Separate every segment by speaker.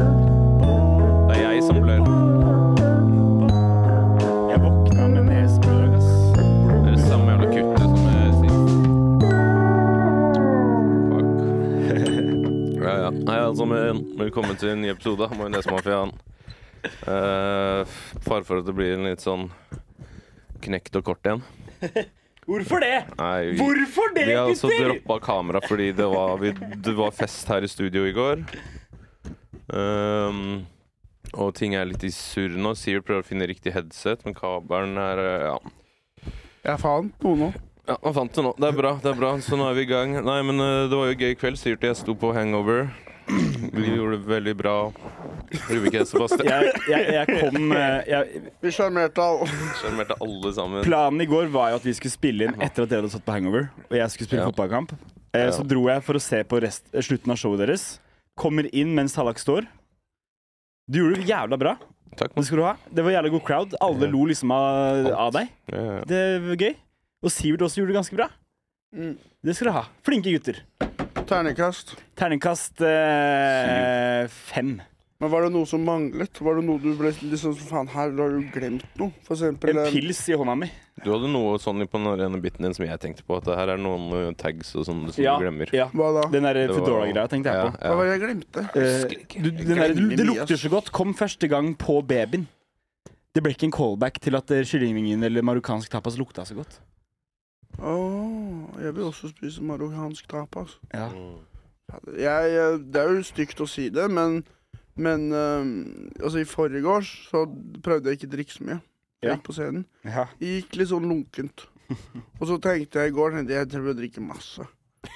Speaker 1: Det er jeg som blør.
Speaker 2: Jeg våkna med nesblør, ass.
Speaker 1: Det er det samme jævla kuttet som jeg sist. Fuck. ja, ja. Hei, alle sammen. Velkommen til en ny episode av Majonesmafiaen. Uh, fare for at det blir en litt sånn knekt og kort igjen.
Speaker 2: Hvorfor det?
Speaker 1: Nei, vi-
Speaker 2: Hvorfor det,
Speaker 1: Vi har også
Speaker 2: gutter?
Speaker 1: droppa kamera fordi det var, vi, det var fest her i studio i går. Ehm, og ting er litt i surr nå. Sivert prøver å finne riktig headset, men kabelen er eh, Ja,
Speaker 3: Jeg fant noe nå.
Speaker 1: ja han fant det nå. Det er bra, det er bra. Så nå er vi i gang. Nei, men eh, det var jo gøy kveld. Sivert og jeg sto på hangover. Vi gjorde det veldig bra. Rubik og Sebastian
Speaker 2: Jeg, jeg, jeg kom eh, jeg,
Speaker 3: Vi sjarmerte alle.
Speaker 1: sjarmerte alle sammen.
Speaker 2: Planen i går var jo at vi skulle spille inn etter at dere hadde satt på hangover, og jeg skulle spille
Speaker 1: Ja.
Speaker 2: fotballkamp. Eh,
Speaker 1: Ja.
Speaker 2: Så dro jeg for å se på rest, eh, slutten av showet deres. Kommer inn mens Tallak står. Du gjorde det jævla bra.
Speaker 1: Takk.
Speaker 2: Det skal du ha. Det var jævla god crowd. Alle
Speaker 1: Ja.
Speaker 2: lo liksom av,
Speaker 1: Alt.
Speaker 2: av deg.
Speaker 1: Ja, ja.
Speaker 2: Det var gøy. Og Sivert også gjorde det ganske bra.
Speaker 3: Mm.
Speaker 2: Det skal du ha. Flinke gutter.
Speaker 3: Terningkast.
Speaker 2: Terningkast eh, fem.
Speaker 3: Men var det noe som manglet? Var det noe du ble liksom sånn, Faen, her har du glemt noe. For eksempel eh,
Speaker 2: En
Speaker 1: eh,
Speaker 3: en
Speaker 2: pils i hånda mi.
Speaker 1: Du hadde noe sånn på den ene biten din som jeg tenkte på. At det her er noen eh, tags og sånn som
Speaker 2: Ja.
Speaker 1: du glemmer.
Speaker 2: ja.
Speaker 3: Hva da?
Speaker 2: Den der eh,
Speaker 1: Det var-
Speaker 2: Foodora-greia tenkte jeg på.
Speaker 3: Hva var det jeg glemte?
Speaker 2: Eh,
Speaker 1: ikke.
Speaker 2: du, den der,
Speaker 3: glemmer
Speaker 2: det
Speaker 3: mye,
Speaker 2: lukter
Speaker 3: ass.
Speaker 2: så godt. Kom første gang på babyen. Det ble ikke en callback til at eh, kyllingvingen eller marokkansk tapas lukta så godt.
Speaker 3: Åh, jeg vil også spise marokkansk tapas.
Speaker 2: Ja.
Speaker 1: Mm.
Speaker 3: Jeg, eh, det er jo stygt å si det, men, men eh, altså, i forgårs så prøvde jeg ikke å drikke så mye.
Speaker 2: Ja.
Speaker 3: Jeg gikk på scenen. Jeg gikk litt sånn lunkent. Og så tenkte jeg i går tenkte jeg jeg prøver å drikke masse.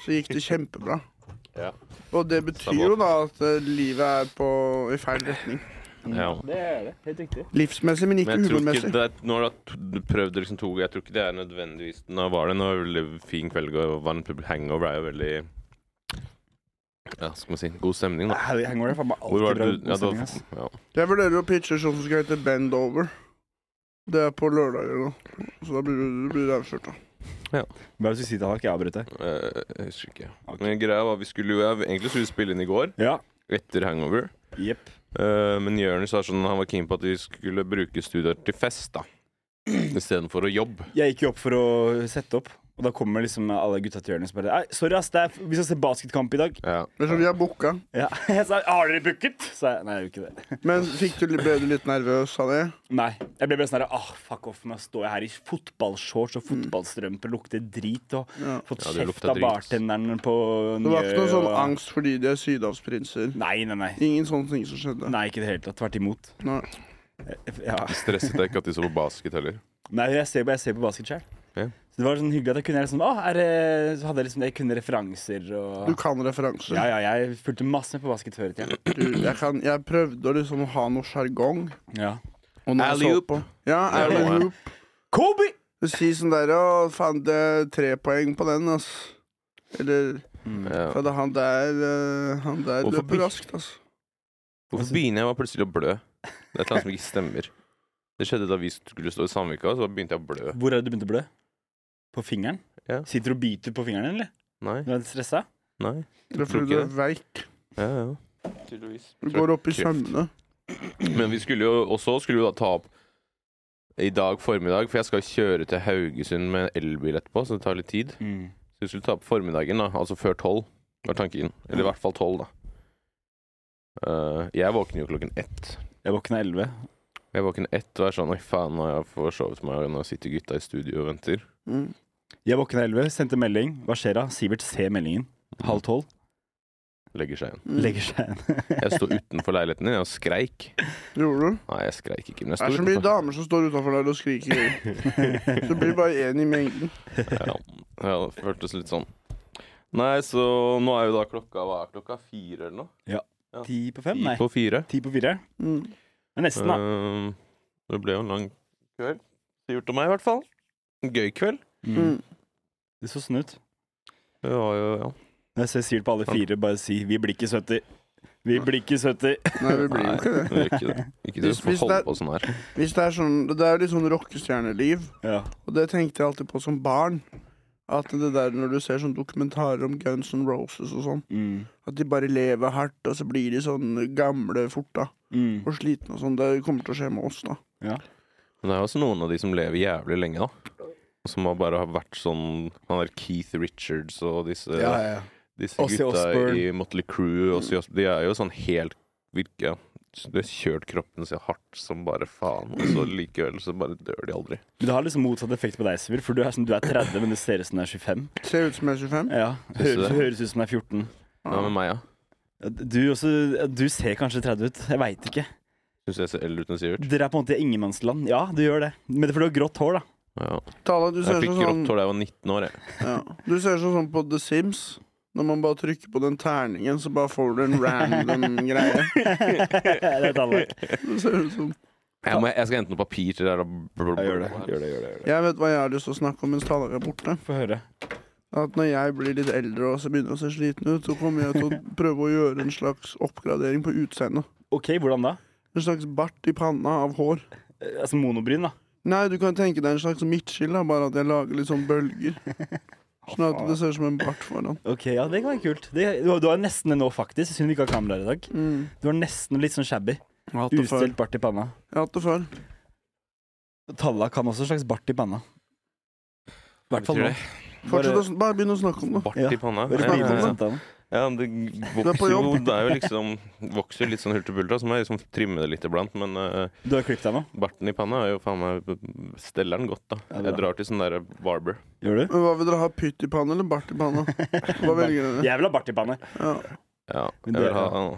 Speaker 3: Så gikk det kjempebra.
Speaker 1: Ja.
Speaker 3: Og det betyr jo da at eh, livet er på, i feil retning.
Speaker 1: Ja.
Speaker 2: Det er det. Helt riktig.
Speaker 3: Livsmessig, men ikke
Speaker 1: Men jeg tror ikke
Speaker 3: humormessig.
Speaker 1: det er, Når du har t- prøvd liksom to Jeg tror ikke det er nødvendigvis Nå var det en veldig fin kveld i går, og var en pub- hangover er jo veldig Ja, skal man si God stemning, da.
Speaker 2: Hangover er faen meg
Speaker 1: Hvor var
Speaker 2: alltid
Speaker 1: det du ja,
Speaker 2: bra.
Speaker 1: det
Speaker 2: stemning,
Speaker 1: var,
Speaker 2: ass.
Speaker 1: ja.
Speaker 3: Jeg vurderer å pitche sånn som skal hete Bend Over. Det er på lørdager nå. Så da blir du, du blir avslørt, da.
Speaker 2: Hva er det du skulle si til Alak? Jeg avbrøt deg.
Speaker 1: eh, Jeg husker ikke. Men greia var vi skulle jo jeg- Egentlig skulle vi spille inn i går,
Speaker 2: Ja.
Speaker 1: etter hangover.
Speaker 2: Jepp.
Speaker 1: Eh, men Jonis var sånn han var keen på at vi skulle bruke studioer til fest, da. Istedenfor å jobbe.
Speaker 2: Jeg gikk jo opp for å sette opp, og da kommer liksom alle gutta til hjørnet og bare Nei, sorry, ass, det er, vi skal se basketkamp i dag.
Speaker 1: Ja.
Speaker 3: Men så vi har booka.
Speaker 2: Ja. Jeg sa har dere booket? Sa jeg. Nei, jeg gjorde ikke det.
Speaker 3: Men fikk du, ble du litt nervøs av det?
Speaker 2: Nei. Jeg ble bare sånn her Åh, fuck off, nå står jeg her i fotballshorts og fotballstrømper, lukter drit og
Speaker 3: Ja.
Speaker 2: fått
Speaker 1: Ja, det
Speaker 2: kjeft
Speaker 1: lukta
Speaker 2: av
Speaker 1: drit, ass.
Speaker 2: bartenderen på
Speaker 3: Det var ikke noe sånn
Speaker 2: og-
Speaker 3: angst fordi de er sydhavsprinser.
Speaker 2: Nei, nei, nei.
Speaker 3: Ingen sånne ting som skjedde.
Speaker 2: Nei, ikke i det hele tatt. Tvert imot.
Speaker 3: Nei.
Speaker 2: Ja.
Speaker 1: Stresset deg ikke at de så på basket heller?
Speaker 2: Nei, jeg ser, jeg ser på basket sjøl.
Speaker 1: Ja.
Speaker 2: Så det var sånn hyggelig at jeg kunne liksom, Åh, er, det- så hadde jeg liksom jeg kunne referanser og
Speaker 3: Du kan referanser.
Speaker 2: Ja, ja, jeg fulgte masse med på basket før i tida.
Speaker 3: Du, jeg, kan, jeg prøvde å liksom ha noe sjargong.
Speaker 2: Ja.
Speaker 3: og når jeg så
Speaker 1: Alley-oop.
Speaker 3: på- Ja,
Speaker 1: Ja, det må jeg.
Speaker 3: alley-oop.
Speaker 2: Kobe!
Speaker 3: Du sier sånn der Å, faen, det er tre poeng på den, ass. Eller
Speaker 2: Mm.
Speaker 1: Ja.
Speaker 3: For det, han der, eh, han der
Speaker 1: Hvorfor
Speaker 3: løper
Speaker 1: blir-
Speaker 3: raskt, ass.
Speaker 1: Hvorfor begynner jeg bare plutselig å blø? Det er et eller annet som ikke stemmer. Det skjedde da vi skulle stå i Sandvika, så da begynte jeg å blø.
Speaker 2: Hvor er det du begynte å blø? På fingeren?
Speaker 1: Ja.
Speaker 2: Sitter du og biter på fingeren, eller?
Speaker 1: Nei.
Speaker 2: Du er litt stressa?
Speaker 1: Nei.
Speaker 3: Det
Speaker 1: Tror
Speaker 3: er fordi
Speaker 1: ikke
Speaker 3: du er veik.
Speaker 1: Ja, ja. Tydeligvis.
Speaker 3: Du går opp i
Speaker 1: Kreft.
Speaker 3: sømmene.
Speaker 1: Men vi skulle jo Og så skulle vi da ta opp i dag formiddag, for jeg skal kjøre til Haugesund med en elbil etterpå, så det tar litt tid.
Speaker 2: Mm.
Speaker 1: Så vi skulle ta opp formiddagen, da, altså før tolv, var tanken. Eller i hvert fall tolv, da. Eh, jeg våkner jo klokken ett.
Speaker 2: Jeg våkna elleve.
Speaker 1: Jeg våkner ett og er sånn Oi, faen, nå har jeg forsovet meg, og nå sitter gutta i studio og venter.
Speaker 3: Mm.
Speaker 2: Jeg våkna elleve, sendte melding. Hva skjer da? Sivert ser meldingen. Halv tolv.
Speaker 1: Legger seg igjen.
Speaker 3: Mm.
Speaker 2: Legger seg igjen.
Speaker 1: Jeg sto utenfor leiligheten din og skreik.
Speaker 3: Gjorde du?
Speaker 1: Nei, jeg skreik ikke, men jeg
Speaker 3: Det er
Speaker 1: sto
Speaker 3: så mye
Speaker 1: utenfor.
Speaker 3: damer som står utafor der og skriker. Så du blir bare én i mengden.
Speaker 1: Ja, ja, det føltes litt sånn. Nei, så nå er jo da klokka Hva er klokka? Fire eller noe?
Speaker 2: Ti på fem?
Speaker 1: Ti
Speaker 2: Nei.
Speaker 1: på fire.
Speaker 2: Ti på fire?
Speaker 3: Mm.
Speaker 2: Men nesten, da.
Speaker 1: Eh, det ble jo en lang kveld. Gjort av meg, i hvert fall. En gøy kveld.
Speaker 2: Mm.
Speaker 3: Mm.
Speaker 2: Det så sånn ut.
Speaker 1: Det var jo, ja.
Speaker 2: Jeg ser Sivert på alle fire bare si 'vi blir ikke 70'. Vi blir ikke 70.
Speaker 3: Nei, vi blir jo ikke det.
Speaker 1: Nei, vi gjør ikke det. Ikke
Speaker 3: Hvis-
Speaker 1: du får
Speaker 3: hvis
Speaker 1: holde
Speaker 3: det er-
Speaker 1: på sånn her.
Speaker 3: Hvis det er sånn Det er litt sånn rockestjerneliv.
Speaker 2: Ja.
Speaker 3: Og det tenkte jeg alltid på som barn. At det der når du ser sånne dokumentarer om Guns N' Roses og sånn,
Speaker 2: Mm.
Speaker 3: at de bare lever hardt, og så blir de sånn gamle fort, da.
Speaker 2: Mm.
Speaker 3: Og slitne og sånn. Det kommer til å skje med oss, da.
Speaker 1: Men det er jo også noen av de som lever jævlig lenge, da. Som har bare har vært sånn Han der Keith Richards og disse,
Speaker 2: ja.
Speaker 1: disse
Speaker 2: Ozzy
Speaker 1: gutta
Speaker 2: Osbourne. Mm.
Speaker 1: i Motley Crew. Ozzy Osbourne. De er jo sånn helt virke De har kjørt kroppen sin hardt som bare faen, og så likevel så bare dør de aldri.
Speaker 2: Men det har liksom motsatt effekt på deg, Sivert. For du er, sånn, du er 30, men det ser ut som du er 25.
Speaker 3: Ser ut som jeg er 25.
Speaker 2: Ja.
Speaker 1: Synes du
Speaker 2: Høres,
Speaker 1: det?
Speaker 2: høres ut som du er 14.
Speaker 1: Hva med meg, da?
Speaker 2: Ja, Du, også, du ser kanskje 30 ut. Jeg veit ikke.
Speaker 1: Syns jeg ser eldre ut enn Sivert?
Speaker 2: Dere er på en måte i ingenmannsland. Ja, du gjør det. Men det er fordi du har grått hår, da.
Speaker 1: Ja.
Speaker 3: Tala, du ser
Speaker 1: Jeg fikk
Speaker 3: sånn
Speaker 1: grått
Speaker 3: sånn
Speaker 1: hår da jeg var 19 år, jeg.
Speaker 3: Ja. Du ser sånn sånn på The Sims. Når man bare trykker på den terningen, så bare får du en random greie.
Speaker 2: det er tallverk.
Speaker 3: Det ser ut som
Speaker 1: Jeg, må, jeg skal hente noe papir til det der. og-
Speaker 2: Ja, gjør det. Gjør det, gjør det, gjør det.
Speaker 3: Jeg vet hva jeg har lyst til å snakke om mens Tala er borte.
Speaker 2: Få høre.
Speaker 3: At når jeg blir litt eldre og så begynner jeg å se sliten ut, så kommer jeg til å prøve å gjøre en slags oppgradering på utseendet.
Speaker 2: OK, hvordan da?
Speaker 3: En slags bart i panna av hår.
Speaker 2: Eh, Altså monobryn, da.
Speaker 3: Nei, du kan tenke deg en slags midtskill, da, bare at jeg lager litt sånn bølger. Sånn at det ser ut som en bart foran.
Speaker 2: Ok, ja, det kan være kult. Det, du, har- du har nesten det nå, faktisk. Synd vi ikke har kamera her i dag.
Speaker 3: Mm.
Speaker 2: Du har nesten litt sånn shabby.
Speaker 3: Jeg har hatt det før.
Speaker 2: Ustelt bart i panna.
Speaker 3: Jeg har hatt det før.
Speaker 2: Talla kan også en slags bart i panna. I hvert fall
Speaker 1: Betyr
Speaker 2: nå.
Speaker 1: det?
Speaker 3: Fortsett å sn- bare begynn å snakke om det.
Speaker 1: Bart
Speaker 2: Ja.
Speaker 1: i panna.
Speaker 2: Bare bli med i samtalen.
Speaker 1: Ja, det
Speaker 3: er på
Speaker 1: vokser jo
Speaker 3: jobb.
Speaker 1: Det er jo liksom Vokser litt sånn hultebulta, så må jeg liksom trimme det litt iblant. Men eh,
Speaker 2: Du har klippet deg nå?
Speaker 1: barten i panna er jo faen meg Steller den godt, da.
Speaker 2: Ja, bra.
Speaker 1: Jeg drar til sånn derre barber.
Speaker 2: Gjør du?
Speaker 3: Men Hva vil dere ha? Pytt i panna eller bart i panna? Hva velger dere?
Speaker 2: Jeg vil ha bart i panne.
Speaker 3: Ja.
Speaker 1: Ja, jeg
Speaker 2: Men det-
Speaker 1: vil ha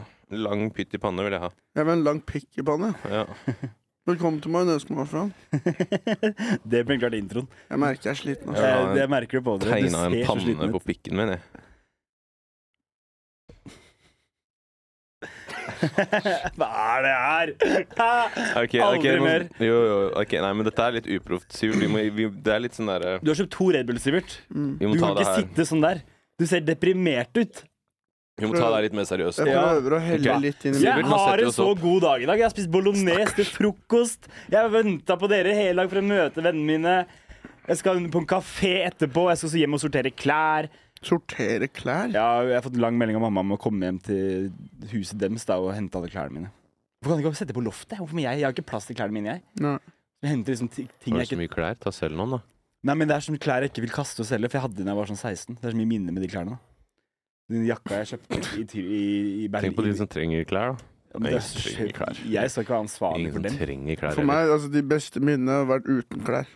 Speaker 1: lang pytt i panna, vil jeg ha.
Speaker 3: Jeg vil ha en lang pikk i panna.
Speaker 1: Ja.
Speaker 3: Velkommen til majonesmafiaen.
Speaker 2: det blir klart introen.
Speaker 3: Jeg merker jeg er sliten.
Speaker 1: Ja.
Speaker 3: Altså.
Speaker 2: Eh, det merker du på dere. Du
Speaker 1: Tegna en
Speaker 2: ser så
Speaker 1: panne
Speaker 2: sliten
Speaker 1: på
Speaker 2: ut.
Speaker 1: pikken min, jeg.
Speaker 2: Hva er det her? Ha!
Speaker 1: Ok,
Speaker 2: Aldri
Speaker 1: ok, nå-
Speaker 2: mer.
Speaker 1: Jo, jo, ok, nei, men dette er litt uproft, Sivert. Vi må, vi, det er litt sånn derre
Speaker 2: Du har kjøpt to Red Bull, Sivert.
Speaker 3: Mm.
Speaker 1: Vi
Speaker 2: Du
Speaker 1: må ta
Speaker 2: kan
Speaker 1: det
Speaker 2: ikke
Speaker 1: her
Speaker 2: sitte sånn der. Du ser deprimert ut.
Speaker 1: Vi må ta det her litt mer seriøst.
Speaker 3: Jeg
Speaker 2: Ja.
Speaker 3: prøver å helle
Speaker 1: Ok.
Speaker 3: litt inn i
Speaker 1: Sivert,
Speaker 2: Jeg
Speaker 1: nå setter
Speaker 2: har
Speaker 1: vi
Speaker 2: en
Speaker 1: oss
Speaker 2: så
Speaker 1: opp.
Speaker 2: god dag i dag. Jeg har spist bolognese til frokost. Jeg har venta på dere hele dag for å møte vennene mine. Jeg skal på en kafé etterpå. Jeg skal så hjem og sortere klær.
Speaker 3: Sortere klær?
Speaker 2: Ja, jeg har fått lang melding av mamma om å komme hjem til huset deres da, og hente alle klærne mine. Hvorfor kan jeg ikke sette på loftet? Hvorfor må jeg? Jeg har ikke plass til klærne mine. Jeg,
Speaker 3: Nei.
Speaker 2: jeg henter liksom ti- ting
Speaker 1: Har
Speaker 2: jeg
Speaker 1: du så
Speaker 2: ikke
Speaker 1: mye klær? Ta selv noen, da.
Speaker 2: Nei, men Det er sånne klær jeg ikke vil kaste og selge, for jeg hadde dem da jeg var sånn 16. Det er så mye minner med de klærne. da. Den jakka jeg kjøpte i, Ty- i, i Berlin
Speaker 1: Tenk på de som trenger klær, da.
Speaker 2: Ja, men det er
Speaker 1: Ingen
Speaker 2: så
Speaker 1: trenger
Speaker 2: sjukt.
Speaker 1: klær.
Speaker 2: Jeg skal ikke være ansvarlig
Speaker 1: Ingen
Speaker 2: for
Speaker 1: som
Speaker 2: dem.
Speaker 1: trenger klær.
Speaker 3: For meg, altså, de beste minnene har vært uten klær.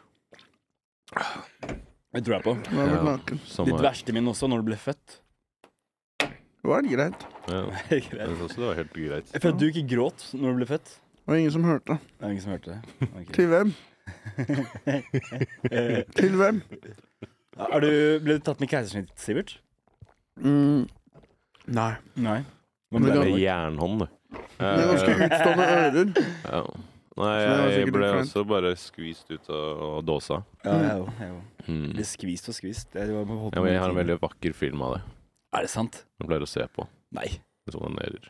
Speaker 2: Det tror jeg på.
Speaker 3: Nå har jeg vært
Speaker 1: Ja.
Speaker 3: naken.
Speaker 1: heller. Samme
Speaker 2: Ditt
Speaker 1: her.
Speaker 2: verste minne også, når du ble født.
Speaker 3: Det var helt greit.
Speaker 1: Ja.
Speaker 2: Det er
Speaker 1: Jeg
Speaker 2: greit.
Speaker 1: synes også det var helt greit.
Speaker 2: Jeg føler at du ikke gråt når du ble født.
Speaker 3: Det var ingen som hørte.
Speaker 2: Det er ingen som hørte det. Ok.
Speaker 3: Til hvem?
Speaker 2: Eh,
Speaker 3: Til hvem?
Speaker 2: Er du, ble du tatt med keisersnitt, Sivert?
Speaker 3: Mm. Nei.
Speaker 2: Nei.
Speaker 3: Men
Speaker 2: Men ble
Speaker 3: det-
Speaker 1: Med
Speaker 2: det?
Speaker 1: jernhånd, du.
Speaker 3: Med ganske
Speaker 1: Eh,
Speaker 3: utstående ører.
Speaker 1: ja. Nei,
Speaker 3: Så det var
Speaker 1: jeg
Speaker 3: sikkert
Speaker 1: ble
Speaker 3: different.
Speaker 1: også bare skvist ut av av dåsa.
Speaker 2: Ja, jeg òg. Jeg òg.
Speaker 1: Mm.
Speaker 2: Ble skvist og skvist. Jeg, var- holdt
Speaker 1: Ja,
Speaker 2: på
Speaker 1: men
Speaker 2: med
Speaker 1: jeg har en
Speaker 2: ting.
Speaker 1: veldig vakker film av det.
Speaker 2: Er det sant?
Speaker 1: Jeg pleier å se på.
Speaker 2: Nei.
Speaker 1: Sånne nerer.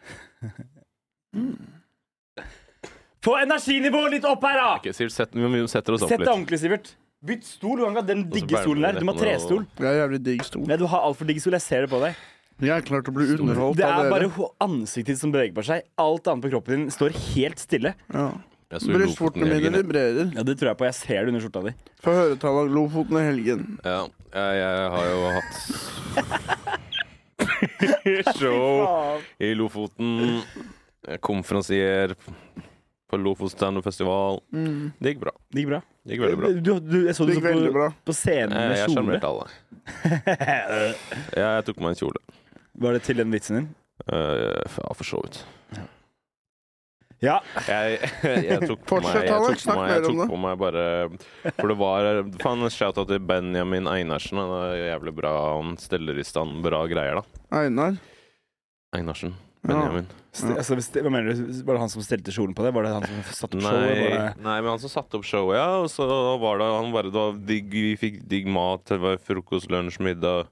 Speaker 2: Få energinivået litt opp her, da!
Speaker 1: Ok, Sivert, sett, vi må- vi setter oss opp
Speaker 2: Sett deg
Speaker 1: litt.
Speaker 2: ordentlig, Sivert. Bytt stol. Du kan ikke ha den digge
Speaker 1: bærer du
Speaker 2: stolen der. Du må ha
Speaker 1: rett med
Speaker 2: trestol.
Speaker 3: Jeg er jævlig digg stol.
Speaker 2: Nei, du har altfor digg stol. Jeg ser det på deg.
Speaker 3: Jeg er klar til å bli underholdt
Speaker 2: Det
Speaker 3: av
Speaker 2: er bare
Speaker 3: dere.
Speaker 2: ho- ansiktet ditt som beveger på seg. Alt annet på kroppen din står helt stille.
Speaker 3: Ja.
Speaker 1: Jeg så i Lofoten
Speaker 3: Brystvortene
Speaker 1: i
Speaker 3: mine
Speaker 1: helgen, jeg.
Speaker 3: vibrerer.
Speaker 2: Ja, Det tror jeg på. Jeg ser det under skjorta di.
Speaker 3: Få høre tall av Lofoten i helgen.
Speaker 1: Ja, jeg, jeg har jo hatt show i Lofoten. Jeg er Konferansier på Lofos Standup-festival.
Speaker 3: Mm.
Speaker 1: Det gikk bra.
Speaker 2: Det gikk bra.
Speaker 1: Det gikk veldig bra. Eh,
Speaker 2: Du, du, jeg så
Speaker 3: Det
Speaker 2: du
Speaker 3: gikk
Speaker 2: så
Speaker 3: veldig
Speaker 2: på,
Speaker 3: bra.
Speaker 2: på scenen
Speaker 1: Jeg,
Speaker 2: med
Speaker 1: jeg
Speaker 2: kjole.
Speaker 1: sjarmerte alle. Jeg, jeg tok meg en kjole.
Speaker 2: Var det til den vitsen din?
Speaker 1: Eh, f- ja, for så vidt.
Speaker 2: Ja.
Speaker 1: Jeg, jeg tok på meg,
Speaker 3: Fortsett,
Speaker 1: jeg
Speaker 3: Alex.
Speaker 1: tok på
Speaker 3: Snakk
Speaker 1: meg,
Speaker 3: mer
Speaker 1: jeg
Speaker 3: om
Speaker 1: tok
Speaker 3: det.
Speaker 1: på meg bare For det var eh, Faen, shout-out til Benjamin Einarsen. Han er jævlig bra. Han steller i stand bra greier, da.
Speaker 3: Einar.
Speaker 1: Einarsen. Benjamin.
Speaker 2: Ste- Altså, ste- hva mener du? Var det han som stelte kjolen på det? Var det han som satte opp showet?
Speaker 1: Nei,
Speaker 2: Var det-
Speaker 1: nei, men han som satte opp showet, ja. Og så var det han bare det var digg, Vi fikk digg mat, det var frokost, lunsj, middag.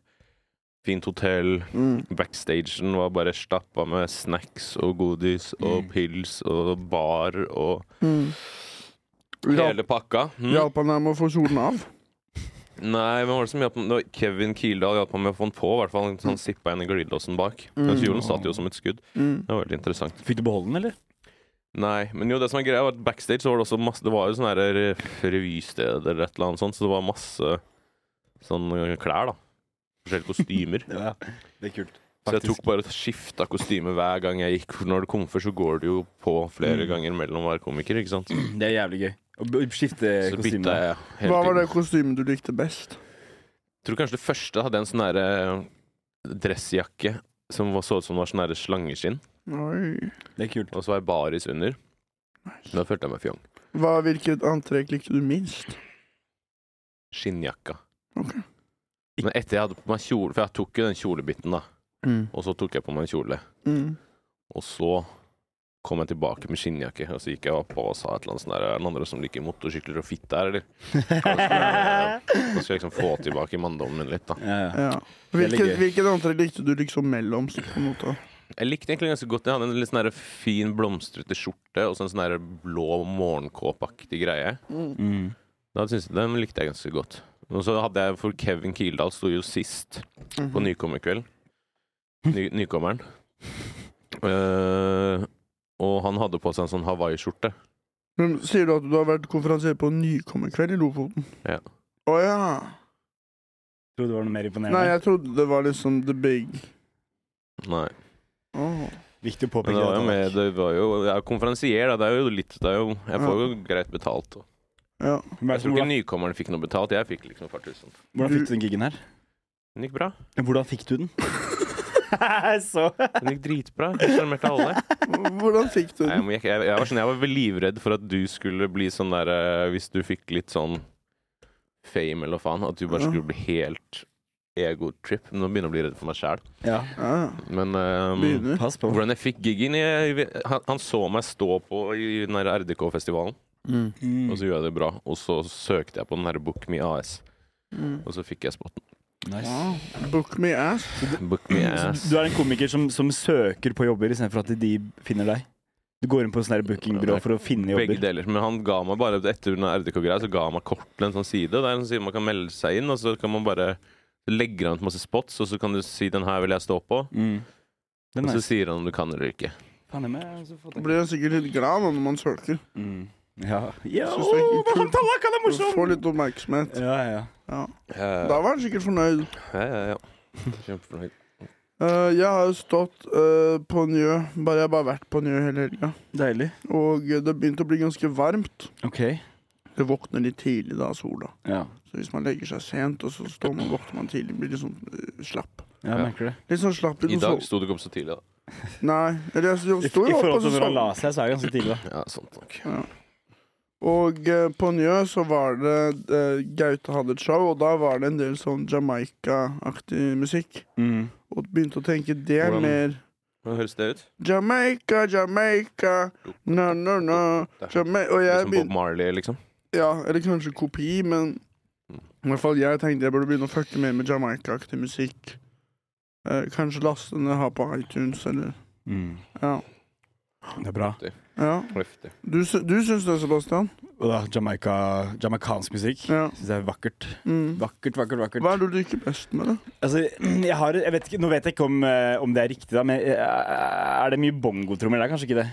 Speaker 1: Fint hotell.
Speaker 3: Mm.
Speaker 1: Backstagen var bare stappa med snacks og godis og
Speaker 2: Mm.
Speaker 1: pils og bar og
Speaker 3: Mm.
Speaker 1: hele pakka. Mm.
Speaker 3: Hjalp han deg med å få kjolen av?
Speaker 1: Nei, hvem var det som hjalp meg? Det var Kevin Kildahl hjalp meg med å få den på. i hvert fall.
Speaker 2: Mm.
Speaker 1: Han- Han sippa inn i glidelåsen bak.
Speaker 3: Mm.
Speaker 1: Men kjolen satt jo som et skudd.
Speaker 3: Mm.
Speaker 1: Det var veldig interessant.
Speaker 2: Fikk du beholde den, eller?
Speaker 1: Nei, men jo, det som er greia, var at backstage så var det også masse Det var jo sånne her re- revysteder eller et eller annet sånt, så det var masse sånn eh, klær, da. Forskjellige kostymer.
Speaker 2: Ja, det er kult.
Speaker 1: så jeg tok bare skifta kostyme hver gang jeg gikk. For når det kommer før, så går det jo på flere
Speaker 2: Mm.
Speaker 1: ganger mellom hver komiker, ikke sant.
Speaker 2: Det er jævlig gøy. Å b- skifte
Speaker 1: Så bytta
Speaker 2: kostyme.
Speaker 1: jeg hele
Speaker 3: Hva var det
Speaker 1: tiden.
Speaker 3: kostymet du likte best?
Speaker 1: Jeg tror kanskje det første hadde en sånn herre dressjakke som var, så ut som det var sånn herre slangeskinn,
Speaker 3: Oi.
Speaker 2: Det er kult.
Speaker 1: og så var jeg baris under. Da følte jeg meg fjong.
Speaker 3: Hva, hvilket antrekk likte du minst?
Speaker 1: Skinnjakka.
Speaker 3: Ok.
Speaker 1: Men etter jeg hadde på meg kjole, for jeg tok jo den kjolebiten, da. Og så tok jeg på meg en kjole.
Speaker 3: Mm.
Speaker 1: Og så kom jeg tilbake med skinnjakke, og så gikk jeg opp og sa et eller annet sånn der Er det noen andre som liker motorsykler og fitte her, eller? Så skal jeg liksom få tilbake manndommen min litt, da.
Speaker 2: Ja, ja.
Speaker 3: Ja.
Speaker 2: Veldig
Speaker 3: Hvilket,
Speaker 2: gøy.
Speaker 3: hvilket antrekk likte du liksom mellomst? på en måte?
Speaker 1: Jeg likte egentlig ganske godt Jeg hadde en litt sånn der fin, blomstrete skjorte og så en sånn der blå morgenkåpaktig greie.
Speaker 2: Mm.
Speaker 1: Da synes jeg, Den likte jeg ganske godt. Og så hadde jeg For Kevin Kildahl sto jo sist på nykommerkveld. Ny, nykommeren. Eh, og han hadde på seg en sånn hawaiiskjorte.
Speaker 3: Men Sier du at du har vært konferansier på nykommerkveld i Lofoten?
Speaker 1: Ja.
Speaker 3: Å ja.
Speaker 2: Tror du det var noe mer
Speaker 3: Nei,
Speaker 2: imponerende?
Speaker 3: jeg trodde det var liksom the big
Speaker 1: Nei.
Speaker 3: Åh.
Speaker 2: Viktig å
Speaker 1: Men
Speaker 2: påpeke
Speaker 1: det var jo
Speaker 2: dette,
Speaker 1: med, det var jo, jeg er konferansier, da. Det er jo litt det er jo, Jeg får jo greit betalt. og-
Speaker 3: Ja.
Speaker 2: Mark. Men
Speaker 1: Jeg tror ikke
Speaker 2: Hvordan,
Speaker 1: nykommerne fikk noe betalt. Jeg fikk liksom et par tusen.
Speaker 2: hvordan fikk du den giggen her?
Speaker 1: Den gikk bra.
Speaker 2: Hvordan fikk du den? Så
Speaker 1: Den gikk dritbra. Jeg Sjarmerte alle.
Speaker 3: Hvordan fikk du
Speaker 1: Nei, jeg,
Speaker 3: den?
Speaker 1: må- jeg, jeg, var sånn, jeg var vel livredd for at du skulle bli sånn der eh, Hvis du fikk litt sånn fame eller faen, at du bare skulle bli helt egotrip. Nå begynner jeg å bli redd for meg sjæl.
Speaker 2: Ja,
Speaker 3: Ja.
Speaker 1: Men eh,
Speaker 3: Begynner.
Speaker 2: pass på.
Speaker 1: hvordan jeg fikk giggen jeg, han, han så meg stå på i den der RDK-festivalen,
Speaker 3: Mm.
Speaker 1: og så gjorde jeg det bra. Og så søkte jeg på den derre Book Me AS,
Speaker 3: Mm.
Speaker 1: og så fikk jeg spotten.
Speaker 3: Wow. Book me ass.
Speaker 1: Book Me AS.
Speaker 2: Mm. Du er en komiker som, som søker på jobber istedenfor at de finner deg. Du går inn på sånne her bookingbyrå for å finne
Speaker 1: Begge
Speaker 2: jobber.
Speaker 1: deler. Men han ga meg bare etter den RDK-greia, så ga han meg kort til en sånn side. Det er en sånn side man kan melde seg inn, og så kan man bare legge han ut masse spots, og så kan du si 'den her vil jeg stå på',
Speaker 2: Mm. Det er
Speaker 1: og så
Speaker 2: nice.
Speaker 1: sier han om du kan eller ikke.
Speaker 2: Faen, jeg må- jeg må få
Speaker 3: Da
Speaker 2: tenke.
Speaker 3: blir jeg sikkert litt glad nå når man søker.
Speaker 2: Mm. Ja. ja.
Speaker 3: Synes det er
Speaker 2: åh,
Speaker 3: kult.
Speaker 2: han Tallak, han er morsom!
Speaker 3: Får litt oppmerksomhet.
Speaker 2: Ja, ja.
Speaker 3: Ja. Da
Speaker 1: Ja,
Speaker 3: var han sikkert fornøyd.
Speaker 1: ja, ja. Kjempefornøyd.
Speaker 3: Eh, jeg har jo stått eh, på Njø. Bare, jeg har bare vært på Njø hele helga.
Speaker 2: Deilig.
Speaker 3: Og det begynte å bli ganske varmt.
Speaker 2: OK.
Speaker 3: Det våkner litt tidlig da, sola.
Speaker 2: Ja,
Speaker 3: Så hvis man legger seg sent, og så står man, våkner man tidlig, blir litt sånn eh, slapp.
Speaker 2: jeg merker det.
Speaker 3: Litt sånn slapp
Speaker 1: I
Speaker 3: litt
Speaker 1: dag
Speaker 3: sånn-
Speaker 1: sto du ikke opp så tidlig, da.
Speaker 3: Nei. Eller altså, jeg,
Speaker 2: I,
Speaker 3: jeg
Speaker 2: I
Speaker 3: sto jo opp,
Speaker 2: forhold
Speaker 3: og
Speaker 2: til
Speaker 3: så
Speaker 2: når han la
Speaker 3: sov.
Speaker 2: seg, så er det ganske tidlig, da.
Speaker 1: Ja, sant nok.
Speaker 3: Og eh, på Njø så var det eh, Gaute hadde et show, og da var det en del sånn Jamaica-aktig musikk.
Speaker 2: Mm,
Speaker 3: Og begynte å tenke det er
Speaker 1: Hvordan-
Speaker 3: mer
Speaker 1: Hvordan høres det ut?
Speaker 3: Jamaica, Jamaica, no, no, no.
Speaker 1: Det er
Speaker 3: Jama og jeg
Speaker 1: Liksom Bob
Speaker 3: begynte
Speaker 1: Marley, liksom.
Speaker 3: Ja, eller kanskje kopi, men i hvert fall jeg tenkte jeg burde begynne å fucke mer med Jamaica-aktig musikk. Eh, kanskje laste den jeg har på iTunes, eller Ja.
Speaker 2: mm. Det er bra.
Speaker 3: ja.
Speaker 1: Heftig.
Speaker 3: Du, sy- du syns det, Sebastian?
Speaker 2: Og da, Jamaica, jamaicansk musikk
Speaker 3: Ja.
Speaker 2: syns jeg er vakkert.
Speaker 3: Mm.
Speaker 2: Vakkert, vakkert, vakkert.
Speaker 3: Hva er det du liker best med det?
Speaker 2: Altså, jeg har, jeg vet ikke, nå vet jeg ikke om, eh, om det er riktig, da, men eh, er det mye bongotrommer? Det er kanskje ikke det?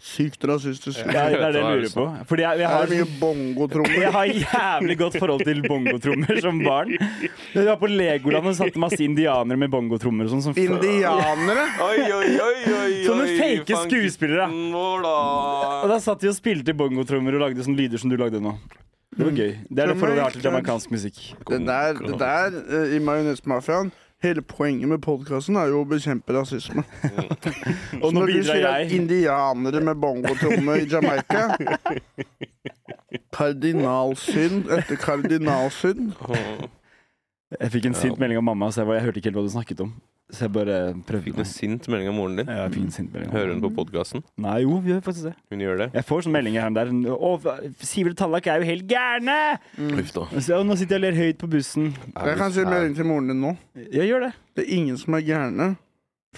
Speaker 3: Sykt rasistisk.
Speaker 2: Ja, det er det jeg lurer på. Fordi jeg, jeg
Speaker 3: Det er
Speaker 2: har sånn-
Speaker 3: mye bongotrommer.
Speaker 2: jeg har jævlig godt forhold til bongotrommer som barn. Jeg var på Legoland og satte masse indianere med bongotrommer og sånn. Som,
Speaker 3: Indianere?
Speaker 1: Oi, oi, oi, oi,
Speaker 2: Sånne fake skuespillere.
Speaker 1: Vår, da.
Speaker 2: Og da satt de og spilte bongotrommer og lagde sånne lyder som du lagde nå. Det var gøy. Det er det forholdet jeg har til jamaicansk musikk.
Speaker 3: Det der, det der eh, i Majonesmafiaen Hele poenget med podkasten er jo å bekjempe rasisme.
Speaker 2: Mm. Og nå
Speaker 3: Når du sier
Speaker 2: bidrar
Speaker 3: at
Speaker 2: jeg.
Speaker 3: indianere med bongotromme i Jamaica Kardinalsynd etter kardinalsynd.
Speaker 1: Åh.
Speaker 2: Jeg fikk en sint melding av mamma, så jeg, var, jeg hørte ikke helt hva du snakket om. Så jeg bare
Speaker 1: Fikk
Speaker 2: prøvde.
Speaker 1: du sint melding av moren din?
Speaker 2: Ja, jeg fikk en sint melding.
Speaker 1: Hører hun på podkasten?
Speaker 2: Nei, jo, vi gjør faktisk det.
Speaker 1: Hun gjør det?
Speaker 2: Jeg får sånne meldinger her og der. Å, Sivert Tallak er jo helt gærne!
Speaker 1: Uff da.
Speaker 2: Og så, «Å, nå sitter jeg og ler høyt på bussen.
Speaker 3: Jeg kan si melding til moren din nå.
Speaker 2: Jeg gjør det.
Speaker 3: Det er ingen som er gærne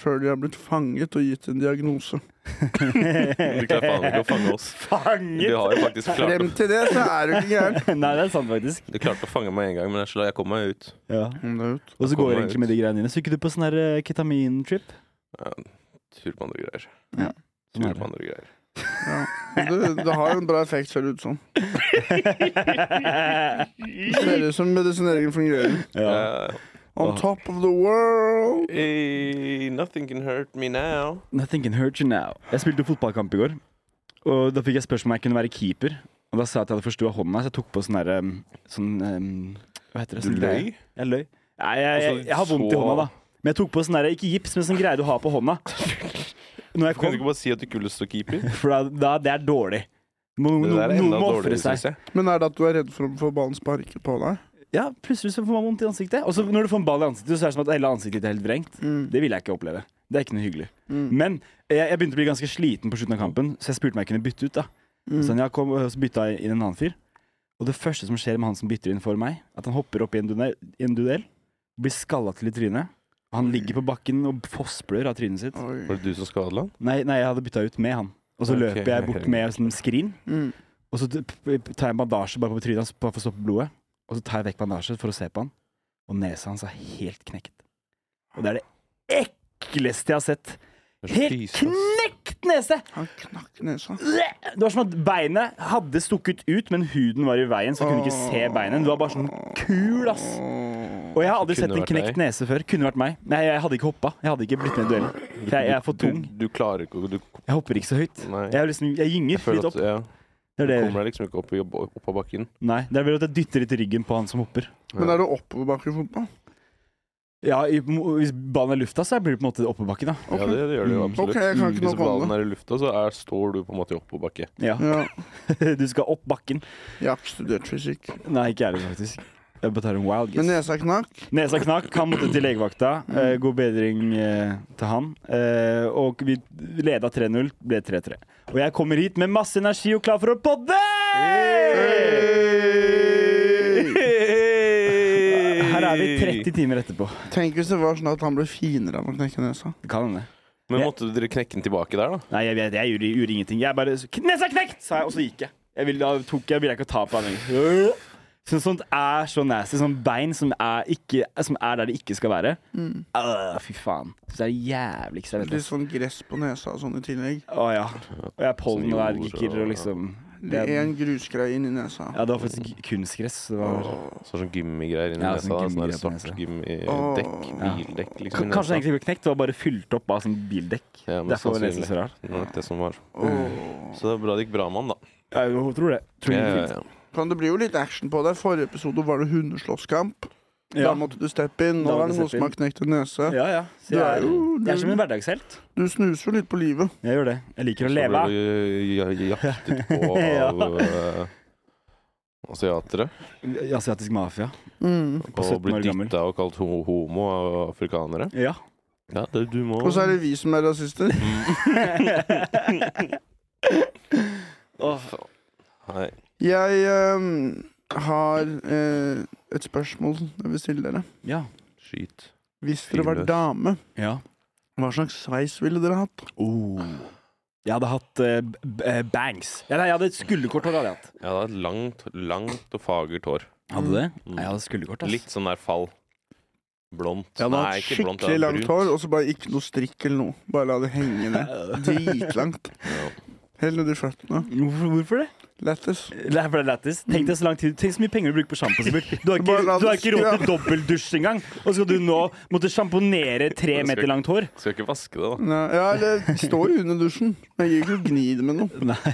Speaker 3: før de har blitt fanget og gitt en diagnose.
Speaker 1: Du klarer faen ikke å fange oss. Du
Speaker 2: Fanget!
Speaker 1: har jo faktisk klart å,
Speaker 3: Frem til det så er du ikke gæren.
Speaker 2: Nei, det er sant, faktisk.
Speaker 1: Du klarte å fange meg en gang, men jeg sla- jeg kom meg ut.
Speaker 2: Ja.
Speaker 3: Kom deg ut.
Speaker 2: Og så
Speaker 1: Kom
Speaker 2: går
Speaker 1: meg
Speaker 2: jeg egentlig med de greiene dine. Så ikke du på sånn her eh, ketamin-trip?
Speaker 1: Tur på andre greier.
Speaker 2: Ja.
Speaker 1: Tur på andre greier.
Speaker 3: Ja. Det, det har jo en bra effekt, ser det ut som. Det ser ut som medisineringen fungerer.
Speaker 2: Ja.
Speaker 1: Uh,
Speaker 3: On top of the world.
Speaker 1: eh, nothing can hurt me now.
Speaker 2: Nothing can hurt you now. Jeg spilte fotballkamp i går, og da fikk jeg spørsmål om jeg kunne være keeper. Og da sa jeg at jeg hadde forstua hånda, så jeg tok på sånn derre Sånn em, Hva heter det?
Speaker 1: Du
Speaker 2: Sånn
Speaker 1: løy?
Speaker 2: greie. Jeg løy. Nei, jeg, jeg, jeg,
Speaker 1: Altså,
Speaker 2: har vondt i
Speaker 1: så-
Speaker 2: hånda, da. Men jeg tok på sånn derre Ikke gips, men sånn greie du har på hånda. Når
Speaker 1: Kan du
Speaker 2: jeg kom,
Speaker 1: ikke bare si at du ikke vil stå keeper?
Speaker 2: for da, da Det er dårlig. Må,
Speaker 1: Det
Speaker 2: no,
Speaker 1: der er
Speaker 2: noen
Speaker 1: enda
Speaker 2: må ofre
Speaker 1: dårligere,
Speaker 2: seg.
Speaker 1: syns jeg.
Speaker 3: Men er det at du er redd for å få ballen sparket på deg?
Speaker 2: Ja, plutselig så får man vondt i ansiktet. Og så når du får en ball i ansiktet, så er det som at hele ansiktet ditt er helt vrengt.
Speaker 3: Mm.
Speaker 2: Det vil jeg ikke oppleve. Det er ikke noe hyggelig. Men jeg, jeg begynte å bli ganske sliten på slutten av kampen, så jeg spurte om jeg kunne bytte ut. da.
Speaker 3: Mm.
Speaker 2: Sånn, jeg kom, og så bytta jeg inn en annen fyr. Og det første som skjer med han som bytter inn for meg, at han hopper opp i en duell, i en duell blir skalla til i trynet. Og han ligger på bakken og fossblør av trynet sitt.
Speaker 1: Var
Speaker 3: Oi.
Speaker 1: det du som skadet han?
Speaker 2: Nei, nei, jeg hadde bytta ut med han. Og så
Speaker 1: Ok,
Speaker 2: løper jeg bort med sånn skrin,
Speaker 3: Mm.
Speaker 2: og så t- p- p- tar jeg en bandasje bare på trynet hans bare for å stoppe blodet. Og så tar jeg vekk bandasjen for å se på han, og nesa hans er helt knekt. Og det er det ekleste jeg har sett. Helt
Speaker 1: Jesus.
Speaker 2: knekt nese!
Speaker 3: Han knakk nesa.
Speaker 2: Det var som at beinet hadde stukket ut, men huden var i veien, så jeg kunne ikke se beinet. Det var bare sånn kul, ass.
Speaker 3: Åh.
Speaker 2: Og jeg har aldri
Speaker 1: Kunne
Speaker 2: sett en
Speaker 1: vært
Speaker 2: knekt
Speaker 1: deg.
Speaker 2: nese før. Kunne vært meg. Nei, jeg hadde ikke hoppa. Jeg hadde ikke blitt med i duellen. For jeg, jeg er for
Speaker 1: Du,
Speaker 2: tung.
Speaker 1: du klarer ikke å du,
Speaker 2: Jeg hopper ikke så høyt.
Speaker 1: Nei.
Speaker 2: Jeg, er liksom, jeg
Speaker 1: Jeg
Speaker 2: gynger
Speaker 1: føler at
Speaker 2: litt opp.
Speaker 1: ja,
Speaker 2: Det
Speaker 1: Du
Speaker 2: er det.
Speaker 1: kommer deg liksom ikke opp, i- opp av bakken.
Speaker 2: Nei, det er vel at jeg dytter litt i ryggen på han som hopper.
Speaker 3: Men er det oppoverbakke i fotball?
Speaker 2: Ja, i, Hvis ballen er i lufta, så blir det på en måte oppebakke, da.
Speaker 1: Ja, det, det gjør det jo
Speaker 2: Mm.
Speaker 1: absolutt.
Speaker 3: Ok, jeg kan ikke
Speaker 1: Hvis
Speaker 3: noe om
Speaker 1: ballen er i lufta, så er, står du på en måte i oppoverbakke.
Speaker 2: Ja,
Speaker 3: Ja.
Speaker 2: Du skal opp bakken.
Speaker 3: Jeg har ikke studert fysikk.
Speaker 2: Nei, ikke jeg heller, faktisk. Jeg bare tar en wild
Speaker 3: Men
Speaker 2: guess.
Speaker 3: nesa knakk.
Speaker 2: Nesa knakk, han måtte til legevakta.
Speaker 1: Mm.
Speaker 2: Eh, god bedring eh, til han. Eh, og vi leda 3-0, ble 3-3. Og jeg kommer hit med masse energi og klar for å podde! Her er vi 30 timer etterpå.
Speaker 3: Tenk hvis det var sånn at han ble finere av å knekke nesa.
Speaker 2: Det kan hende.
Speaker 1: Men måtte dere knekke den tilbake der, da?
Speaker 2: Nei, jeg, vet- jeg gjorde, gjorde ingenting. Jeg bare så- Nesa knekt! sa jeg, og så gikk jeg. Jeg ville, da tok jeg, ville jeg ikke ta på han lenger. Så sånt er så nasty. Sånn bein som er, ikke, som er der det ikke skal være. Øh, fy faen. Så det er det jævligste jeg vet.
Speaker 3: Litt sånn gress på nesa og sånn i tillegg.
Speaker 2: Å ja. Og jeg er pollenallergiker
Speaker 1: jord og-
Speaker 2: og liksom
Speaker 3: Det er en grusgreie inni nesa.
Speaker 2: Ja, det var faktisk kunstgress. så Det var
Speaker 1: Så er det sånn gymmigreier inni
Speaker 2: Ja,
Speaker 1: nesa.
Speaker 2: sånn
Speaker 1: da, Sånn der
Speaker 2: gymmigreier på
Speaker 1: svart
Speaker 2: nesa.
Speaker 1: gymmidekk.
Speaker 3: Åh.
Speaker 1: Bildekk,
Speaker 2: K-
Speaker 1: liksom. i
Speaker 2: Kanskje
Speaker 1: nesa.
Speaker 2: den egentlig ble knekt, det var bare fylt opp av sånn bildekk.
Speaker 1: Ja, men
Speaker 2: Derfor var nesen
Speaker 1: sannsynlig.
Speaker 2: så rar.
Speaker 1: Det var nok det som var.
Speaker 3: Åh.
Speaker 1: Så det er bra det gikk bra med han, da.
Speaker 2: Ja, Jeg tror det. Tror
Speaker 1: Ja,
Speaker 2: det
Speaker 1: ja,
Speaker 2: gikk fint.
Speaker 1: ja.
Speaker 3: Kan det bli jo litt action på deg? Forrige episode var det hundeslåsskamp. Da måtte du steppe inn. Nå
Speaker 2: Da må
Speaker 3: er det
Speaker 2: du
Speaker 3: noen
Speaker 2: steppe
Speaker 3: som har knekt en nese.
Speaker 2: ja, ja. Så
Speaker 3: Du
Speaker 2: jeg,
Speaker 3: er
Speaker 2: er,
Speaker 3: jo-
Speaker 2: jeg er som en hverdagshelt.
Speaker 3: Du snuser jo litt på livet.
Speaker 2: Jeg gjør det. Jeg liker å
Speaker 1: Så
Speaker 2: leve.
Speaker 1: ble du ja- ja- jaktet på
Speaker 2: Ja.
Speaker 1: av eh, asiatere.
Speaker 2: I Asiatisk mafia.
Speaker 3: Mm.
Speaker 2: På
Speaker 1: Og
Speaker 2: 17
Speaker 1: blitt
Speaker 2: år gammel.
Speaker 1: dytta og kalt ho- homo av afrikanere.
Speaker 2: Ja.
Speaker 1: Ja, det, du må
Speaker 3: Og så er det vi som er rasister.
Speaker 1: Hei.
Speaker 3: Jeg eh, har eh, et spørsmål jeg vil stille dere.
Speaker 2: Ja.
Speaker 1: Skyt.
Speaker 3: Hvis dere var
Speaker 1: Fyrløs.
Speaker 3: dame,
Speaker 2: ja.
Speaker 3: hva slags sveis ville dere hatt?
Speaker 2: Oh. Jeg hadde hatt eh, b- b- eh, bangs. Ja, nei, jeg hadde et skulderkort. Hadde jeg hatt.
Speaker 1: Jeg hadde et langt, langt og fagert hår.
Speaker 2: Hadde du det?
Speaker 1: Mm.
Speaker 2: Nei, jeg hadde skulderkort. ass.
Speaker 1: Litt sånn der fall. Blondt.
Speaker 3: Jeg hadde hatt
Speaker 1: ikke blondt,
Speaker 3: skikkelig
Speaker 1: jeg hadde
Speaker 3: langt
Speaker 1: brunt.
Speaker 3: hår, og så bare ikke noe strikk eller noe. Bare la det henge ned. Dritlangt.
Speaker 1: Ja.
Speaker 3: Helt nedi føttene.
Speaker 2: Hvorfor, hvorfor det?
Speaker 3: Lættis.
Speaker 2: Det er for det er lættis. Tenk deg så lang tid Tenk så mye penger du bruker på sjampo. Sivert. Du har ikke,
Speaker 3: Bare la
Speaker 2: du har
Speaker 3: det
Speaker 2: ikke råd
Speaker 3: skra-
Speaker 2: til dobbeltdusj engang. Og så skal du nå måtte sjamponere tre
Speaker 1: skal
Speaker 2: meter
Speaker 1: ikke-
Speaker 2: langt hår.
Speaker 1: Skal ikke vaske det, da.
Speaker 3: Nei, Ja, eller det står jo under dusjen. Jeg gir ikke å gni det med noe.
Speaker 2: Nei.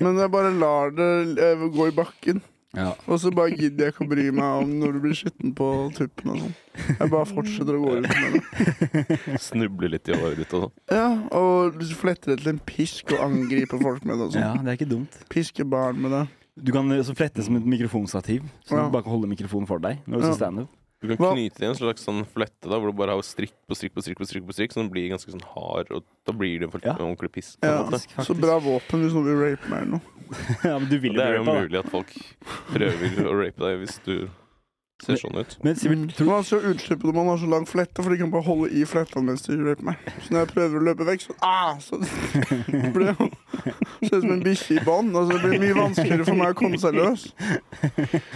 Speaker 3: Men jeg bare lar det eh, gå i bakken.
Speaker 2: Ja.
Speaker 3: Og så bare gidder jeg ikke å bry meg om når du blir skitten på tuppen og sånn. Jeg bare fortsetter å gå rundt med det.
Speaker 1: Snuble litt i håret ditt og sånn.
Speaker 3: Ja, og fletter det til en pisk og angriper folk med det og sånn.
Speaker 2: det er ikke dumt.
Speaker 3: Pisker barn med det.
Speaker 2: Du kan eh, så flette som et mikrofonstativ. Så
Speaker 3: Ja.
Speaker 2: du bare kan holde mikrofonen for deg. Når du
Speaker 3: Ja.
Speaker 2: står standup.
Speaker 1: Du kan
Speaker 3: Hva-
Speaker 1: knyte det i en slags sånn flette da, hvor du bare har strikk på strikk på strikk på strikk, på strikk så den blir ganske sånn hard, og da blir det for-
Speaker 2: Ja.
Speaker 1: ordentlig piss. på en
Speaker 3: Ja,
Speaker 1: måte.
Speaker 3: så bra våpen hvis noen vil rape meg eller noe.
Speaker 2: ja, men du vil
Speaker 1: Og
Speaker 2: jo
Speaker 1: Det er jo
Speaker 2: bli rapet, da.
Speaker 1: mulig at folk prøver å rape deg hvis du ser sånn ut.
Speaker 2: Men Sivert,
Speaker 3: Mm. Men altså, utslippet når man har så lang flette, for de kan bare holde i fletta mens de raper meg. Så når jeg prøver å løpe vekk, så ah, så blir jeg jo Ser ut som en bikkje i bånd. Altså, det blir mye vanskeligere for meg å komme seg løs.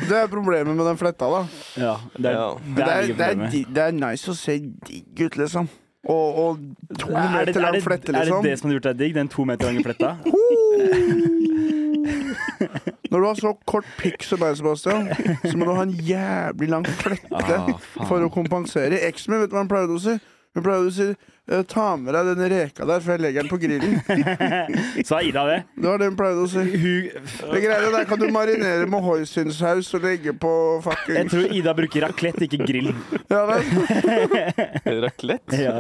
Speaker 3: Det er problemet med den fletta, da.
Speaker 2: ja, det er,
Speaker 1: Ja.
Speaker 2: det er,
Speaker 3: Det er,
Speaker 2: mye
Speaker 3: det, er
Speaker 2: problemet.
Speaker 3: digg, det er nice å se digg ut, liksom. Og, og to meter lang flette,
Speaker 2: er det
Speaker 3: liksom.
Speaker 2: det som har gjort deg digg? Den to meter lange fletta?
Speaker 3: Når du har så kort pikk som meg, Sebastian, så må du ha en jævlig lang flette
Speaker 2: Ah, faen.
Speaker 3: for å kompensere. Eksen min, vet du hva hun pleide å si? Hun pleide å si eh, Ta med deg den reka der, for jeg legger den på grillen.
Speaker 2: Sa Ida det?
Speaker 3: Det var det hun pleide å si.
Speaker 2: Hun,
Speaker 3: Det greiene der kan du marinere med hoisinsaus og legge på
Speaker 2: jeg
Speaker 3: fucking
Speaker 2: tror Ida bruker raclette, ikke grill.
Speaker 3: ja, nei.
Speaker 1: Raclette?
Speaker 2: Ja.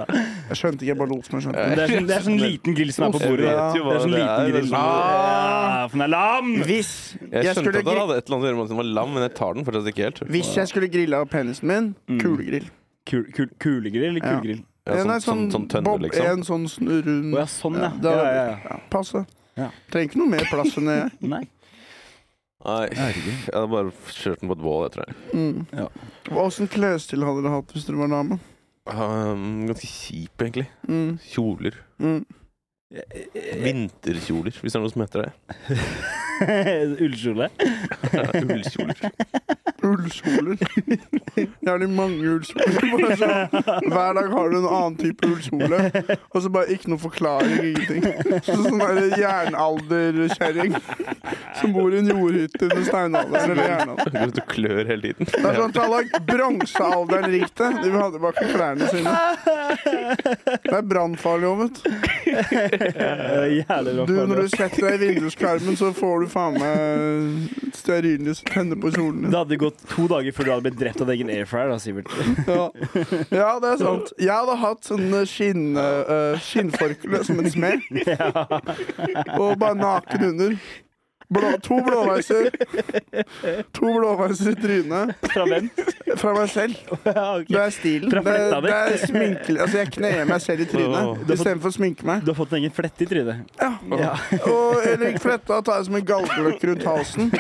Speaker 3: Jeg skjønte ikke, jeg bare lot som jeg skjønte.
Speaker 2: Men Det er sånn, det er sånn liten grill som er på
Speaker 1: Jeg
Speaker 2: bordet.
Speaker 3: Ja.
Speaker 1: vet jo hva
Speaker 2: Det er sånn
Speaker 1: det
Speaker 2: liten
Speaker 1: er. Det er
Speaker 2: grill.
Speaker 1: sånn-
Speaker 2: Ah, for den er lam!
Speaker 3: Hvis
Speaker 1: Jeg
Speaker 3: jeg
Speaker 1: skjønte
Speaker 3: skulle
Speaker 1: at han
Speaker 3: gri-
Speaker 1: hadde et eller annet å gjøre med at den var lam, men jeg tar den fortsatt ikke helt.
Speaker 3: hvis jeg skulle grilla penisen min,
Speaker 2: Mm.
Speaker 3: kulegrill.
Speaker 2: Kul, kul, kulegrill eller
Speaker 3: Ja.
Speaker 2: kulegrill?
Speaker 1: Ja,
Speaker 3: En
Speaker 1: sånn,
Speaker 3: er sånn,
Speaker 1: sånn, sånn tønne,
Speaker 3: bob-
Speaker 1: liksom.
Speaker 3: En sånn sn- rund
Speaker 2: Å ja, sånn, ja.
Speaker 3: da-
Speaker 2: Ja, ja, ja.
Speaker 3: ja, Passe.
Speaker 2: Ja.
Speaker 3: Trenger ikke noe mer plass enn det.
Speaker 2: Nei.
Speaker 1: Nei, jeg hadde bare kjørt den på et bål, jeg tror jeg.
Speaker 3: Mm.
Speaker 2: Ja.
Speaker 3: Åssen klesstil hadde dere hatt hvis dere var dame?
Speaker 1: Um, ganske kjip, egentlig.
Speaker 3: Mm.
Speaker 1: Kjoler.
Speaker 3: Mm. Eh.
Speaker 1: Vinterkjoler, hvis det er noe som heter det.
Speaker 2: Ullkjole.
Speaker 1: Ullkjoler.
Speaker 3: Ullkjoler. Jævlig mange ullkjoler. Bare sånn, Hver dag har du en annen type ullkjole, og så bare ikke noe forklaring, ingenting. Så sånn der jernalderkjerring som bor i en jordhytte under steinalderen eller jernalderen.
Speaker 1: Går ut og klør hele tiden.
Speaker 3: Det er sånn at alle har bronsealderen rikt det. De vil ha tilbake klærne sine. Det er brannfarlig òg, vet du.
Speaker 2: Eh, Jævlig bra.
Speaker 3: Du,
Speaker 2: faen,
Speaker 3: når du setter deg i vinduskarmen, så får du faen meg stearinlys og tenner på kjolen
Speaker 2: ja.
Speaker 3: din.
Speaker 2: Det hadde gått to dager før du hadde blitt drept av egen airfryer, da, Sivert.
Speaker 3: Ja. ja, det er sant. Jeg hadde hatt sånn eh, skinn, eh, skinnforkle som en smed. Og bare naken under. Blå, to blåveiser. To blåveiser i trynet.
Speaker 2: Fra hvem?
Speaker 3: Fra meg selv.
Speaker 2: Ja, ok.
Speaker 3: Det er stilen.
Speaker 2: Fra
Speaker 3: Det,
Speaker 2: fletta di.
Speaker 3: det er sminkelig. Altså, jeg kner meg selv i trynet istedenfor å sminke meg.
Speaker 2: Du har fått en egen flette i trynet.
Speaker 3: Ja. Og Erik Fletta tar jeg som en galgeløkk rundt halsen.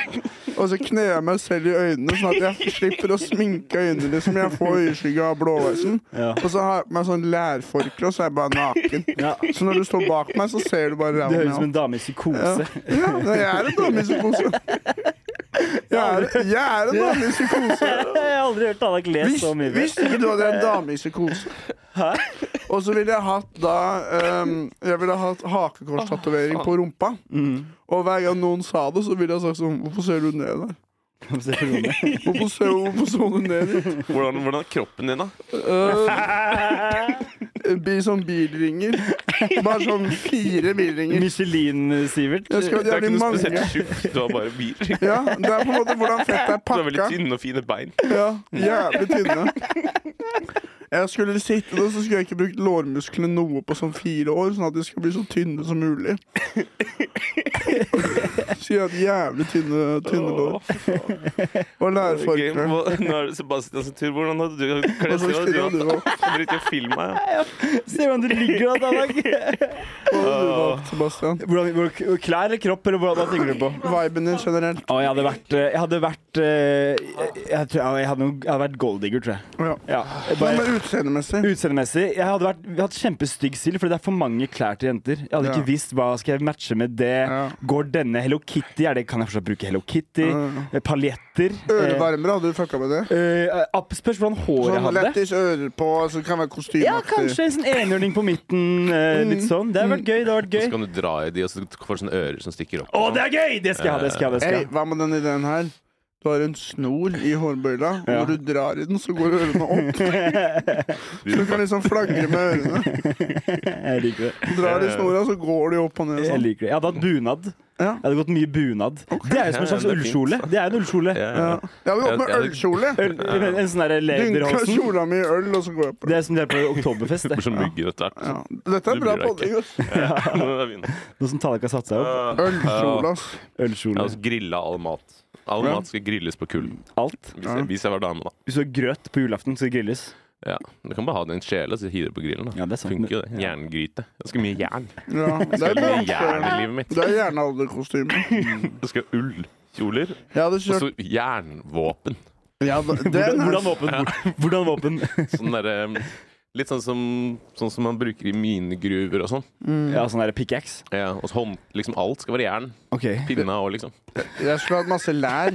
Speaker 3: Og så kner jeg meg selv i øynene, sånn at jeg slipper å sminke øynene. Liksom. Jeg får øyeskygge av blåveisen.
Speaker 2: Ja.
Speaker 3: Og så har jeg på meg sånn lærforkle, og så er jeg bare naken.
Speaker 2: Ja.
Speaker 3: Så når du står bak meg, så ser du bare
Speaker 2: Du høres ut
Speaker 3: ræva
Speaker 2: som
Speaker 3: mi.
Speaker 2: en dame i
Speaker 3: Ja.
Speaker 2: psykose.
Speaker 3: ja, jeg er en dame i psykose. Jeg er, jeg er en dame i psykose.
Speaker 2: Jeg har aldri hørt Alak le
Speaker 3: Hvis,
Speaker 2: så mye. før.
Speaker 3: hvis ikke du hadde en dame i psykose Og så ville jeg hatt da ehm, Jeg ville hatt hakekorstatuering på rumpa.
Speaker 1: Mm.
Speaker 3: Og hver gang noen sa det, så ville jeg sagt sånn Hvorfor ser du ned der? Hvorfor, ser, hvorfor så du ned dit?
Speaker 1: Hvordan, hvordan er kroppen din, da?
Speaker 3: Eh, bi- sånn bilringer. Bare sånn fire bilringer.
Speaker 2: Michelin-Sivert.
Speaker 3: Jeg skal
Speaker 1: Du
Speaker 3: ha
Speaker 1: er ikke
Speaker 3: jævlig
Speaker 1: noe
Speaker 3: mange.
Speaker 1: spesielt tjukk, du har bare bil. Du
Speaker 3: Ja, det er på en måte hvordan fett er
Speaker 1: har veldig
Speaker 3: pakka.
Speaker 1: tynne og fine bein.
Speaker 3: Ja, jævlig tynne. Jeg skulle sitte der, så skulle jeg ikke brukt lårmusklene noe på sånn fire år, sånn at de skal bli så tynne som mulig. Så jeg hadde jævlig tynne, tynne lår. Og
Speaker 1: Ok,
Speaker 3: lærforkle.
Speaker 1: hva- Nå er det Sebastian sin tur. Hvordan hadde du
Speaker 3: Og
Speaker 1: kledd
Speaker 3: så
Speaker 1: deg? Du
Speaker 3: stirra du
Speaker 1: hadde
Speaker 3: opp.
Speaker 1: hadde riktig film meg. ja.
Speaker 2: Se hvordan du ligger da, Alak.
Speaker 3: Hva hadde du valgt, Sebastian?
Speaker 2: Hvordan, hvor- klær eller kropp, eller hvordan hva tenker du på?
Speaker 3: Viben din generelt.
Speaker 2: Å, jeg hadde vært eh, Jeg hadde vært eh, Jeg, tror, jeg, hadde, noen- jeg hadde vært golddigger, tror jeg.
Speaker 3: Ja.
Speaker 2: Ja,
Speaker 3: Hva
Speaker 2: bare
Speaker 3: med utseendemessig?
Speaker 2: Utseendemessig Jeg hadde vært, jeg hadde hatt kjempestygg stil, fordi det er for mange klær til jenter. Jeg hadde
Speaker 3: Ja.
Speaker 2: ikke visst hva skal jeg matche med det.
Speaker 3: Ja.
Speaker 2: Går denne Hello Kitty? Er det, kan jeg fortsatt bruke Hello Kitty?
Speaker 3: Ja.
Speaker 2: Eh, Paljetter?
Speaker 3: Ørevarmere, hadde du fucka med det?
Speaker 2: Eh, eh, app- spørs hvordan håret jeg
Speaker 3: Sånn
Speaker 2: hadde.
Speaker 3: lættis ører på, så det kan være
Speaker 2: Ja,
Speaker 3: kostymeaktig.
Speaker 2: kanskje en sånn enhjørning på midten. eh, litt
Speaker 3: Mm.
Speaker 2: sånn. Det har vært gøy. det har vært
Speaker 1: Så
Speaker 2: gøy
Speaker 1: kan du dra i de, og så får du sånne ører som stikker opp.
Speaker 2: Å, det er gøy! Det skal jeg ha. det skal jeg ha, det skal
Speaker 3: Hei,
Speaker 2: jeg ha.
Speaker 3: hva med den ideen her? Du har en snor i hårbøyla, og
Speaker 2: Ja.
Speaker 3: når du drar i den, så går ørene opp. Så du kan liksom flagre med ørene.
Speaker 2: Jeg liker det.
Speaker 3: Drar i snora, så går de opp og ned
Speaker 2: Jeg
Speaker 3: sånn.
Speaker 2: liker det Jeg hadde hatt bunad.
Speaker 3: Ja.
Speaker 2: Jeg hadde gått mye bunad. Det er jo som en
Speaker 1: Ja,
Speaker 2: slags
Speaker 1: det er fint.
Speaker 2: ullkjole. Det er en ullkjole.
Speaker 1: Ja,
Speaker 3: Ja.
Speaker 1: ja.
Speaker 3: Jeg hadde gått med
Speaker 1: Jeg- jeg-
Speaker 3: ølkjole.
Speaker 2: Øl, en sånn derre
Speaker 3: Dynka
Speaker 2: lederhosen.
Speaker 3: kjola mi i øl, og så går jeg på det.
Speaker 2: Det er som det er på Oktoberfest.
Speaker 1: Det blir
Speaker 2: Det.
Speaker 1: så mygger etter hvert.
Speaker 3: Ja. Dette
Speaker 1: Du
Speaker 3: er bra
Speaker 1: bryr deg ikke.
Speaker 3: podding. ass.
Speaker 1: Det er fint.
Speaker 2: Noe som Tallak har satt seg opp.
Speaker 1: Øh,
Speaker 3: Ølkjole, ass.
Speaker 1: Jeg
Speaker 2: Ølkjole.
Speaker 1: har grilla all mat. All
Speaker 3: Ja.
Speaker 1: mat skal grilles på kull.
Speaker 2: Alt.
Speaker 1: Hvis jeg, hvis jeg var dame, da.
Speaker 2: Hvis du har grøt på julaften, skal det grilles.
Speaker 1: Ja. Du kan bare ha den i en kjele og så hive det på grillen. da
Speaker 2: Ja, det er sant.
Speaker 1: Funker jo det. Jerngryte. Ganske mye jern.
Speaker 3: Ja. Det er
Speaker 1: Veldig mye jern i
Speaker 3: jern.
Speaker 1: livet mitt.
Speaker 3: Det er jernalderkostyme.
Speaker 1: Det skal ullkjoler
Speaker 3: Jeg hadde
Speaker 1: og
Speaker 3: kjørt
Speaker 1: så jernvåpen.
Speaker 3: ja, det- det er
Speaker 2: Hvordan,
Speaker 3: nice.
Speaker 2: hvordan våpen? Hvordan våpen?
Speaker 1: Sånn derre um, Litt sånn som, sånn som man bruker i minegruver og sånn.
Speaker 2: Ja, sånn derre pickaxe.
Speaker 1: Ja, og så hånd, liksom alt skal være jern.
Speaker 2: Ok.
Speaker 1: Pinna og liksom.
Speaker 3: Jeg skulle hatt masse lær.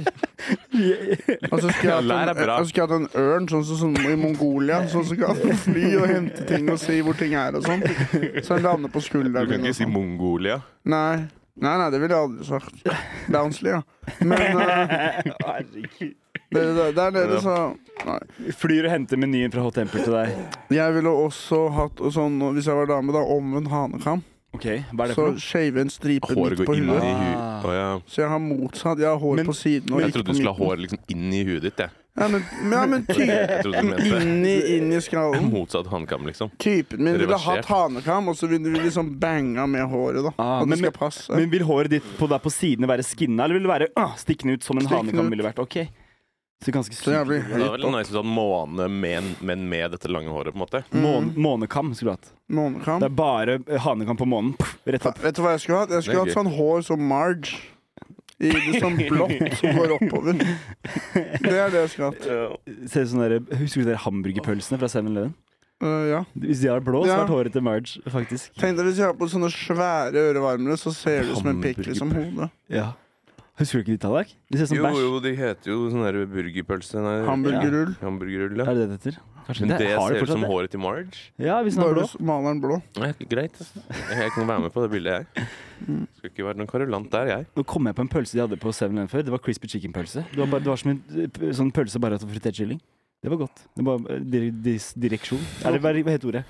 Speaker 3: Og så skulle jeg hatt
Speaker 1: Lær
Speaker 3: en,
Speaker 1: er bra.
Speaker 3: og så skulle jeg hatt en ørn, sånn som sånn, i Mongolia. Sånn som kan fly og hente ting og si hvor ting er og sånn. Så den lander på
Speaker 1: Du
Speaker 3: skulderen
Speaker 1: kan
Speaker 3: min.
Speaker 1: ikke
Speaker 3: og
Speaker 1: si
Speaker 3: sånn.
Speaker 1: Mongolia.
Speaker 3: Nei. Nei, nei, det ville jeg aldri sagt. Bounceley, ja. Men eh,
Speaker 2: Herregud.
Speaker 3: det, det, det er det det sa. Nei.
Speaker 2: Flyr og henter menyen fra Hot Temple til deg.
Speaker 3: Jeg ville også hatt og sånn, og hvis jeg var dame, da omvendt hanekam.
Speaker 2: Ok, Hva er det
Speaker 3: Så
Speaker 2: for noe?
Speaker 3: shave en stripe
Speaker 1: Håret
Speaker 3: midt
Speaker 1: går
Speaker 3: på
Speaker 1: inn i
Speaker 3: huet.
Speaker 1: huet. Å, ja.
Speaker 3: Så jeg har motsatt. Jeg har hår
Speaker 2: Men-
Speaker 3: på siden og
Speaker 1: Jeg
Speaker 3: ikke
Speaker 1: trodde du
Speaker 3: på
Speaker 1: skulle
Speaker 3: midten.
Speaker 1: ha håret liksom inn i huet ditt. Jeg,
Speaker 3: Ja, men, ja, men ty
Speaker 1: jeg trodde du mente
Speaker 3: inn i, inn i skrallen.
Speaker 1: motsatt hanekam, liksom.
Speaker 3: Typen min ville
Speaker 1: Reversert.
Speaker 3: hatt hanekam, og så ville vi liksom banga med håret. da
Speaker 2: Ah,
Speaker 3: At
Speaker 2: men-
Speaker 3: det skal passe.
Speaker 2: Men Vil håret ditt på, der på sidene være skinna, eller vil det være ah, stikkende ut som en
Speaker 3: Stikkende
Speaker 2: hanekam
Speaker 3: ut.
Speaker 2: ville vært? Ok. Så ganske
Speaker 3: så jævlig
Speaker 2: sykt.
Speaker 1: Det var
Speaker 3: høyt
Speaker 1: veldig
Speaker 3: opp.
Speaker 1: nice hvis du hadde måne, men, men med dette lange håret, på en måte.
Speaker 3: Mm.
Speaker 2: Mån, månekam skulle du hatt.
Speaker 3: Månekam.
Speaker 2: Det er bare eh, hanekam på månen. Puff, Rett opp.
Speaker 3: Vet du hva jeg skulle hatt? Jeg skulle
Speaker 1: Det er
Speaker 3: hatt sånn hår som Marge. I det sånn blått som går oppover. Det er det jeg skulle hatt.
Speaker 2: Ser ut som dere, Husker du dere hamburgerpølsene fra 7-Eleven?
Speaker 3: Uh, ja.
Speaker 2: Hvis de har blå, så
Speaker 3: Ja.
Speaker 2: har håret til Marge, faktisk.
Speaker 3: Tenk deg hvis jeg har på sånne svære ørevarmere, så ser det ut som en pikk liksom hodet.
Speaker 2: Ja. Husker du ikke de tallene? De ser ut som
Speaker 1: Jo,
Speaker 2: bæsj.
Speaker 1: jo, de heter jo sånn der burgerpølse. nei,
Speaker 3: Hamburgerrull.
Speaker 1: Hamburgerrull,
Speaker 2: Er
Speaker 1: ja.
Speaker 2: det det det heter? Kanskje
Speaker 1: Men
Speaker 2: det,
Speaker 1: det
Speaker 2: har
Speaker 1: ser
Speaker 2: de
Speaker 1: ut som
Speaker 2: fortsatt det?
Speaker 1: håret til Marge.
Speaker 2: Ja, hvis den er
Speaker 3: Bare
Speaker 2: blå.
Speaker 3: s- maler den blå.
Speaker 1: Nei, greit. altså. Jeg kan være med på det bildet, jeg.
Speaker 2: Mm.
Speaker 1: Skal ikke være noen karulant der, jeg.
Speaker 2: Nå kom jeg på en pølse de hadde på 7-Eleven før. Det var crispy chicken-pølse. Det, var bare- det var som en eh, p- sånn pølse bare av fritert kylling. Det var godt. Det var eh, dir dis direksjon. Er det, hva er- hva heter ordet?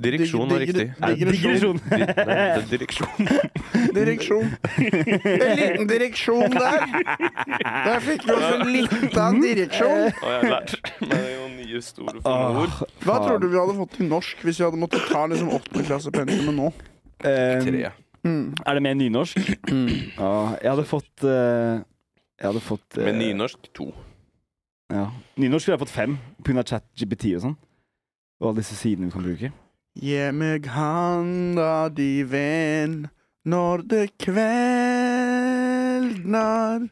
Speaker 1: Direksjon er
Speaker 3: Dig-
Speaker 1: riktig.
Speaker 3: dig- digresjon.
Speaker 2: Digresjon.
Speaker 1: Nei, det er direksjon.
Speaker 3: Direksjon. En liten direksjon der. Der fikk vi oss en liten
Speaker 1: Å,
Speaker 3: direksjon.
Speaker 1: jeg har lært meg noen nye store fine ord.
Speaker 2: Åh, Ah,
Speaker 3: Hva
Speaker 2: faen.
Speaker 3: tror du vi hadde fått i norsk hvis vi hadde måttet ta liksom åttendeklassepensumet nå? Hmm.
Speaker 2: Eh,
Speaker 1: Tre.
Speaker 2: er det mer nynorsk? Ja, jeg hadde fått eh, Jeg hadde fått eh,
Speaker 1: Med nynorsk to.
Speaker 2: Ja. Nynorsk skulle jeg fått fem, pga. ChatGPT og sånn. Og alle disse sidene vi kan bruke.
Speaker 3: Gi meg handa di, venn, når det kveldnar,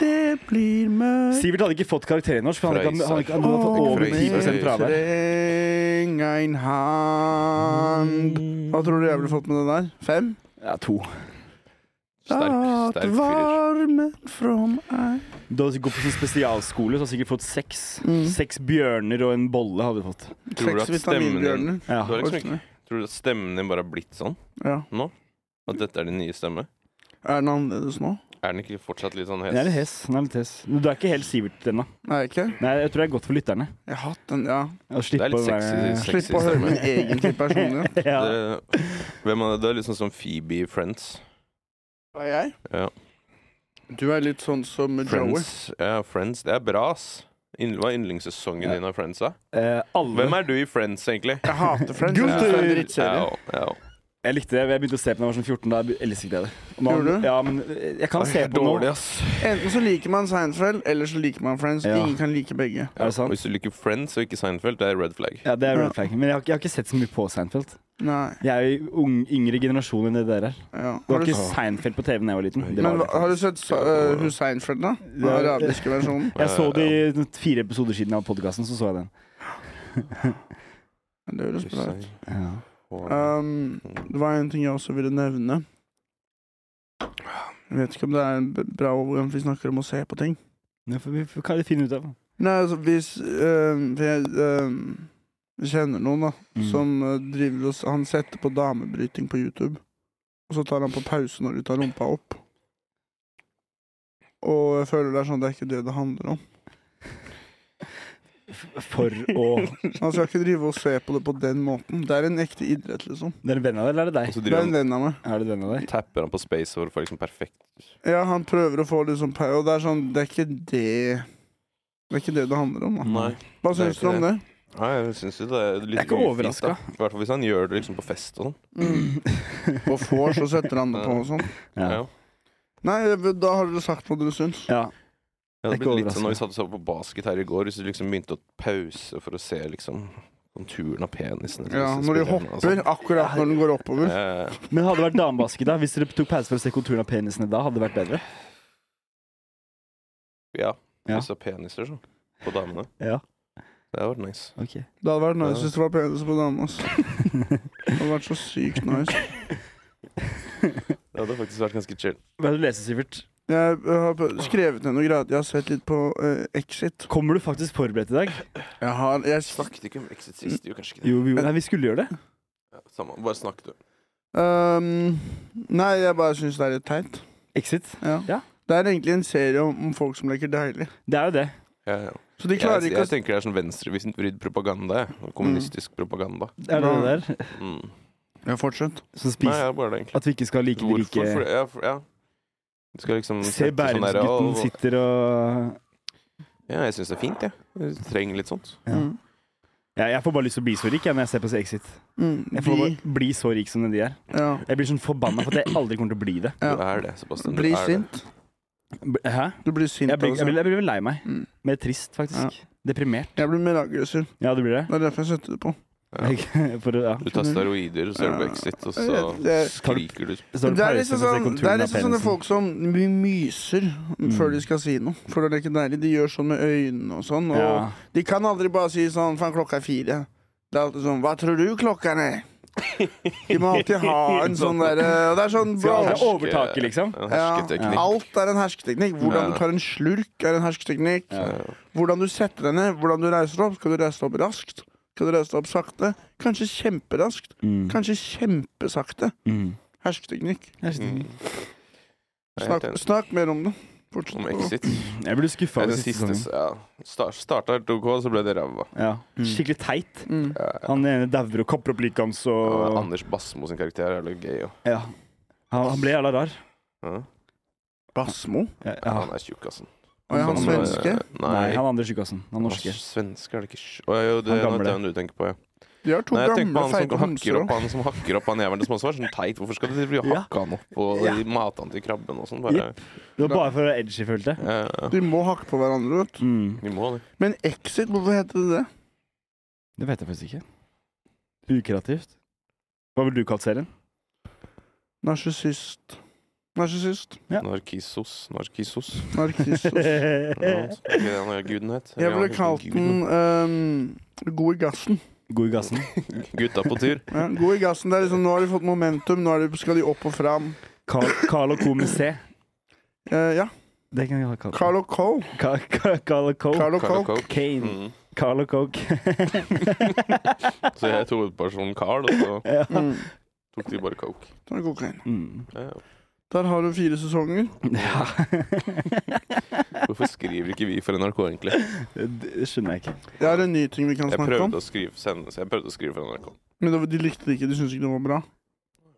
Speaker 3: det blir mørkt.
Speaker 2: Sivert hadde ikke fått karakter i norsk, for han hadde, ikke- han hadde, ikke- han hadde fått
Speaker 3: Og
Speaker 2: over
Speaker 1: Frøyser.
Speaker 2: 10 fravær.
Speaker 3: treng ein hand
Speaker 2: Mm,
Speaker 3: Hva tror du jeg ville fått med den der? Fem?
Speaker 2: Ja, to.
Speaker 1: Sterk, sterk fyrer.
Speaker 3: varmen from ei
Speaker 2: Du hadde gått på sånn spesialskole, så hadde du sikkert fått seks.
Speaker 3: Mm.
Speaker 2: Seks bjørner og en bolle hadde du fått.
Speaker 1: Tror du
Speaker 3: Seks
Speaker 1: at stemmen din
Speaker 3: vitaminbjørner.
Speaker 2: Ja.
Speaker 1: Du har liksom ikke- Tror du at stemmen din bare har blitt sånn
Speaker 3: Ja.
Speaker 1: nå? At dette er din nye stemme?
Speaker 3: Er den annerledes nå?
Speaker 1: Er den ikke fortsatt litt sånn
Speaker 2: Den er litt
Speaker 1: hes?
Speaker 2: hes. Den er litt hes. Men Du er ikke helt Sivert ennå.
Speaker 3: Nei, ikke?
Speaker 2: Nei, jeg tror det er godt for lytterne.
Speaker 3: Jeg har hatt den, ja.
Speaker 2: Å
Speaker 1: Det
Speaker 2: slippe
Speaker 1: er litt
Speaker 2: å være
Speaker 1: sexy,
Speaker 3: Slipp
Speaker 1: sexy
Speaker 3: å høre
Speaker 1: stemme.
Speaker 3: min egentlige personlighet.
Speaker 2: ja.
Speaker 1: Det, hvem er det? det er litt sånn som Phoebe i Friends.
Speaker 3: Hva er jeg?
Speaker 1: Ja.
Speaker 3: Du er litt sånn som Joey.
Speaker 1: Friends, ja, Friends. Det er bra, ass. Yndl- Hva er yndlingssesongen din av Friends? da?
Speaker 2: Eh, alle
Speaker 1: Hvem er du i Friends, egentlig?
Speaker 3: Jeg hater Friends. Jeg
Speaker 2: Gutter!
Speaker 3: synes det er en drittserie.
Speaker 1: Ja, ja.
Speaker 2: Jeg likte det. Jeg begynte å se på da jeg var sånn 14. Da elsket jeg det. Og nå-
Speaker 3: Gjorde du?
Speaker 2: Ja, men jeg kan se på nå.
Speaker 1: Dårlig, ass.
Speaker 3: Enten så liker man Seinfeld, eller så liker man Friends.
Speaker 2: Ja.
Speaker 3: Ingen kan like begge.
Speaker 2: Er det
Speaker 1: Og
Speaker 2: sant?
Speaker 1: Hvis du liker Friends og ikke Seinfeld, det er red flag.
Speaker 2: Ja, det er
Speaker 3: Ja.
Speaker 2: red flag. Men jeg har, ikke- jeg har ikke sett så mye på Seinfeld.
Speaker 3: Nei,
Speaker 2: Jeg er jo i ung, yngre generasjon enn det der er.
Speaker 3: ja.
Speaker 2: Det
Speaker 3: Har
Speaker 2: var
Speaker 3: du,
Speaker 2: ikke Seinfeld på TV da jeg var liten. Det
Speaker 3: men
Speaker 2: var
Speaker 3: hva-
Speaker 2: det.
Speaker 3: har du sett uh, Hus Seinfeld, da? Den
Speaker 2: Ja.
Speaker 3: arabiske versjonen?
Speaker 2: Jeg så de fire episoder siden av podkasten, så så jeg den.
Speaker 3: Det høres bra ut.
Speaker 2: Ja.
Speaker 3: Um, det var en ting jeg også ville nevne. Jeg vet ikke om det er en b- bra overgang, for vi snakker om å se på ting.
Speaker 2: Det får vi får- kan vi finne ut av.
Speaker 3: Nei, altså, hvis um, for jeg, um, Vi kjenner noen, da.
Speaker 2: Mm.
Speaker 3: som eh, driver oss Han setter på damebryting på YouTube, og så tar han på pause når de tar rumpa opp. Og jeg føler det er sånn det er ikke det det handler om.
Speaker 2: f- for å
Speaker 3: Han skal ikke drive og se på det på den måten. Det er en ekte idrett, liksom.
Speaker 2: Det er en venn av deg, eller er det
Speaker 1: Og
Speaker 2: deg?
Speaker 1: så
Speaker 3: Det er
Speaker 1: driver
Speaker 3: en
Speaker 1: han
Speaker 3: venn av meg.
Speaker 2: Er det en venn av deg?
Speaker 1: tapper han på space for å få liksom perfekt
Speaker 3: Ja, han prøver å få liksom pe- Og det er sånn, det er ikke det Det er ikke det det handler om, da.
Speaker 1: Nei.
Speaker 3: Hva
Speaker 1: Det er
Speaker 3: syns du om
Speaker 1: ikke
Speaker 3: det?
Speaker 1: Nei, jeg syns jo det er litt
Speaker 2: Jeg er ikke
Speaker 1: ufint, da.
Speaker 2: overraska.
Speaker 1: I hvert fall hvis han gjør det liksom på fest og sånn.
Speaker 3: Mm. På vors så setter han det på og sånn.
Speaker 2: Mm. Ja.
Speaker 1: Ja.
Speaker 3: Nei, da har dere sagt hva dere syns.
Speaker 2: ja.
Speaker 1: Ja, det
Speaker 2: Jeg er ikke
Speaker 1: ble litt sånn
Speaker 2: overrasket.
Speaker 1: når vi satt og så på basket her i går, hvis du liksom begynte å pause for å se liksom konturen av penisen til
Speaker 3: Ja,
Speaker 1: disse
Speaker 3: når de
Speaker 1: spillerne og
Speaker 3: hopper, akkurat når den går
Speaker 1: sånn.
Speaker 3: oppover.
Speaker 1: Eh,
Speaker 2: Men hadde det vært damebasket, da? Hvis dere tok pause for å se konturen av penisene da, hadde det vært bedre?
Speaker 1: ja.
Speaker 2: Ja.
Speaker 1: Hvis det er peniser, så. På damene.
Speaker 2: Ja.
Speaker 1: Det hadde vært nice.
Speaker 2: Ok.
Speaker 3: Det hadde vært nice hvis det var penis på dama. ass. Det hadde vært så sykt nice.
Speaker 1: Det hadde faktisk vært ganske chill.
Speaker 2: Hva er det du leser, Sivert?
Speaker 3: Jeg har p- skrevet ned noe greier. Jeg har sett litt på eh, Exit.
Speaker 2: Kommer du faktisk forberedt i dag?
Speaker 3: Jeg har jeg, s-
Speaker 1: Snakket ikke om Exit sist, jo kanskje ikke det.
Speaker 2: Jo, vi, nei, vi skulle gjøre det.
Speaker 1: Ja, samme, bare snakk, du.
Speaker 3: ehm, Nei, jeg bare syns det er litt teit.
Speaker 2: Exit.
Speaker 3: Ja.
Speaker 2: Ja.
Speaker 3: Det er egentlig en serie om, om folk som leker deilig.
Speaker 2: Det er jo det.
Speaker 1: Ja, ja.
Speaker 3: Så de
Speaker 1: Jeg,
Speaker 3: klarer
Speaker 1: jeg,
Speaker 3: ikke å
Speaker 1: tenker det er sånn venstrevridd propaganda. jeg. Kommunistisk propaganda.
Speaker 2: Det er det der
Speaker 1: Mm.
Speaker 3: Ja, fortsett.
Speaker 2: som
Speaker 1: Nei,
Speaker 2: spiser
Speaker 1: ja, bare det, egentlig.
Speaker 2: At vi ikke skal like de
Speaker 1: Hvorfor? For,
Speaker 2: rike
Speaker 1: ja, for, ja. Du skal liksom
Speaker 2: Se
Speaker 1: sette sånn der,
Speaker 2: Bærumsgutten
Speaker 1: «Å,
Speaker 2: sitter og
Speaker 1: Ja, jeg syns det er fint, jeg. Jeg trenger litt sånt.
Speaker 2: Ja.
Speaker 3: Mm.
Speaker 2: ja, Jeg får bare lyst til å bli så rik jeg, når jeg ser på Exit.
Speaker 3: Mm,
Speaker 2: Jeg får
Speaker 3: de,
Speaker 2: bare bli så rik som de er.
Speaker 3: ja.
Speaker 2: Jeg blir sånn forbanna for at jeg aldri kommer til å bli det.
Speaker 3: Ja.
Speaker 1: Du er det, Sebastian. Du
Speaker 3: Bli
Speaker 1: er det.
Speaker 3: sint.
Speaker 2: B- Hæ?
Speaker 3: Du blir sint.
Speaker 2: Jeg blir, jeg
Speaker 3: altså.
Speaker 2: blir, jeg blir lei meg.
Speaker 3: Mm.
Speaker 2: Mer trist, faktisk. Deprimert.
Speaker 3: altså. Jeg blir mer aggressiv.
Speaker 2: Ja, det blir det.
Speaker 3: Det er derfor jeg setter det på.
Speaker 1: Ja.
Speaker 2: For, å- ja.
Speaker 1: Du tar steroider, så er du på
Speaker 3: Ja.
Speaker 1: Exit, og
Speaker 3: Jeg
Speaker 1: så
Speaker 3: vet, det-
Speaker 1: skriker du.
Speaker 2: Så har du
Speaker 3: Det er
Speaker 2: pause for å
Speaker 3: liksom,
Speaker 2: se
Speaker 3: sånn, det
Speaker 2: konturen
Speaker 3: er
Speaker 2: av
Speaker 3: liksom sånne
Speaker 2: penisen. Mm.
Speaker 3: folk som my- myser før de skal si noe. For å leke deilig. De gjør sånn med øynene og sånn. Og
Speaker 2: Ja.
Speaker 3: De kan aldri bare si sånn Faen, klokka er fire. Det er alltid sånn Hva tror du klokka er? De må alltid ha en sånn derre Det er sånn
Speaker 2: Skal
Speaker 3: bro,
Speaker 2: alle overtaket, liksom?
Speaker 1: En
Speaker 3: ja,
Speaker 1: hersketeknikk.
Speaker 3: Alt er en hersketeknikk. Hvordan du tar en slurk, er en hersketeknikk. Hvordan du setter deg ned, hvordan du reiser deg opp. Skal du reise deg opp raskt? Skal du reise deg opp sakte? Kanskje kjemperaskt.
Speaker 2: Mm.
Speaker 3: Kanskje kjempesakte.
Speaker 2: Mm.
Speaker 3: Hersketeknikk.
Speaker 1: Mm. Jeg er helt
Speaker 3: Snakk,
Speaker 1: enig.
Speaker 3: snakk mer om det.
Speaker 1: Om
Speaker 3: Fortsett.
Speaker 1: Exit.
Speaker 2: Jeg ble skuffa
Speaker 1: Ja,
Speaker 2: over
Speaker 1: Den siste
Speaker 2: siste sesongen.
Speaker 1: s- ja. Star- Starta helt OK, så ble det ræva.
Speaker 2: Ja. Skikkelig teit.
Speaker 3: Mm.
Speaker 2: Han ene dauer og kapper opp liket hans
Speaker 1: Ja,
Speaker 2: og
Speaker 1: Anders Basmo sin karakter er litt gøy. og-
Speaker 2: ja. Han, han ble jævla rar.
Speaker 1: Ja.
Speaker 3: Basmo?
Speaker 2: Ja.
Speaker 1: Han
Speaker 2: ja.
Speaker 1: er tjukk, assen.
Speaker 3: Og er han
Speaker 1: Som, eh,
Speaker 3: svenske?
Speaker 2: Nei,
Speaker 1: Nei,
Speaker 2: han andre tjukassen. Han norske.
Speaker 1: Svenske er det ikke sj- Å, jo, det,
Speaker 2: Han gamle.
Speaker 1: det er han du tenker på, ja.
Speaker 3: De har to
Speaker 1: Nei, jeg tenker på
Speaker 3: gamle,
Speaker 1: han
Speaker 3: feite
Speaker 1: som hakker
Speaker 3: homser
Speaker 1: opp
Speaker 3: òg.
Speaker 1: han som hakker opp han jævelen som også var sånn teit. Hvorfor skal du drive og
Speaker 2: Ja.
Speaker 1: hakke han opp og
Speaker 2: Ja.
Speaker 1: mate han til krabben og sånn? Bare
Speaker 2: Det var bare for å være edgy, følte jeg.
Speaker 1: ja, ja.
Speaker 3: De må hakke på hverandre. vet du.
Speaker 2: Mm.
Speaker 1: Vi må det.
Speaker 3: Men Exit, hvorfor heter det det?
Speaker 2: Det vet jeg faktisk ikke. Ukreativt. Hva ville du kalt serien?
Speaker 3: Narsissist. Narsissist.
Speaker 2: Ja.
Speaker 1: Narkisos. Narkisos.
Speaker 3: Narkissus.
Speaker 1: Ja,
Speaker 2: God
Speaker 1: altså. Ikke det han er guden het.
Speaker 3: Jeg
Speaker 1: Ja,
Speaker 3: ville kalt den ehm, God i gassen.
Speaker 2: i gassen.
Speaker 1: Gutta på tur.
Speaker 3: Ja, god i gassen, det er liksom, Nå har de fått momentum, nå er de, skal de opp og fram.
Speaker 2: Carl, Carl og Co. med C.
Speaker 3: Eh, ja.
Speaker 2: Det kan jeg kalle det.
Speaker 3: Carlo Cole.
Speaker 2: Ka- ka- Carl og Co.
Speaker 1: Oh,
Speaker 3: Carl og
Speaker 1: Carl og
Speaker 3: Cole.
Speaker 1: Coke.
Speaker 2: Kane.
Speaker 1: Mm.
Speaker 2: Carl og Coke.
Speaker 1: Så jeg tok ut bare sånn Carl, og så
Speaker 2: ja.
Speaker 3: Mm.
Speaker 1: tok de bare coke.
Speaker 3: da er det kokain.
Speaker 2: Mm.
Speaker 1: Ja, ja.
Speaker 3: Der har du fire sesonger.
Speaker 2: ja.
Speaker 1: Hvorfor skriver ikke vi for NRK, egentlig?
Speaker 2: Det det skjønner jeg ikke.
Speaker 3: Det er en ny ting vi kan
Speaker 1: Jeg
Speaker 3: snakke om.
Speaker 1: prøvde å skrive, sende, så jeg prøvde å skrive for NRK.
Speaker 3: Men det var- de likte det ikke. De syntes ikke det var bra.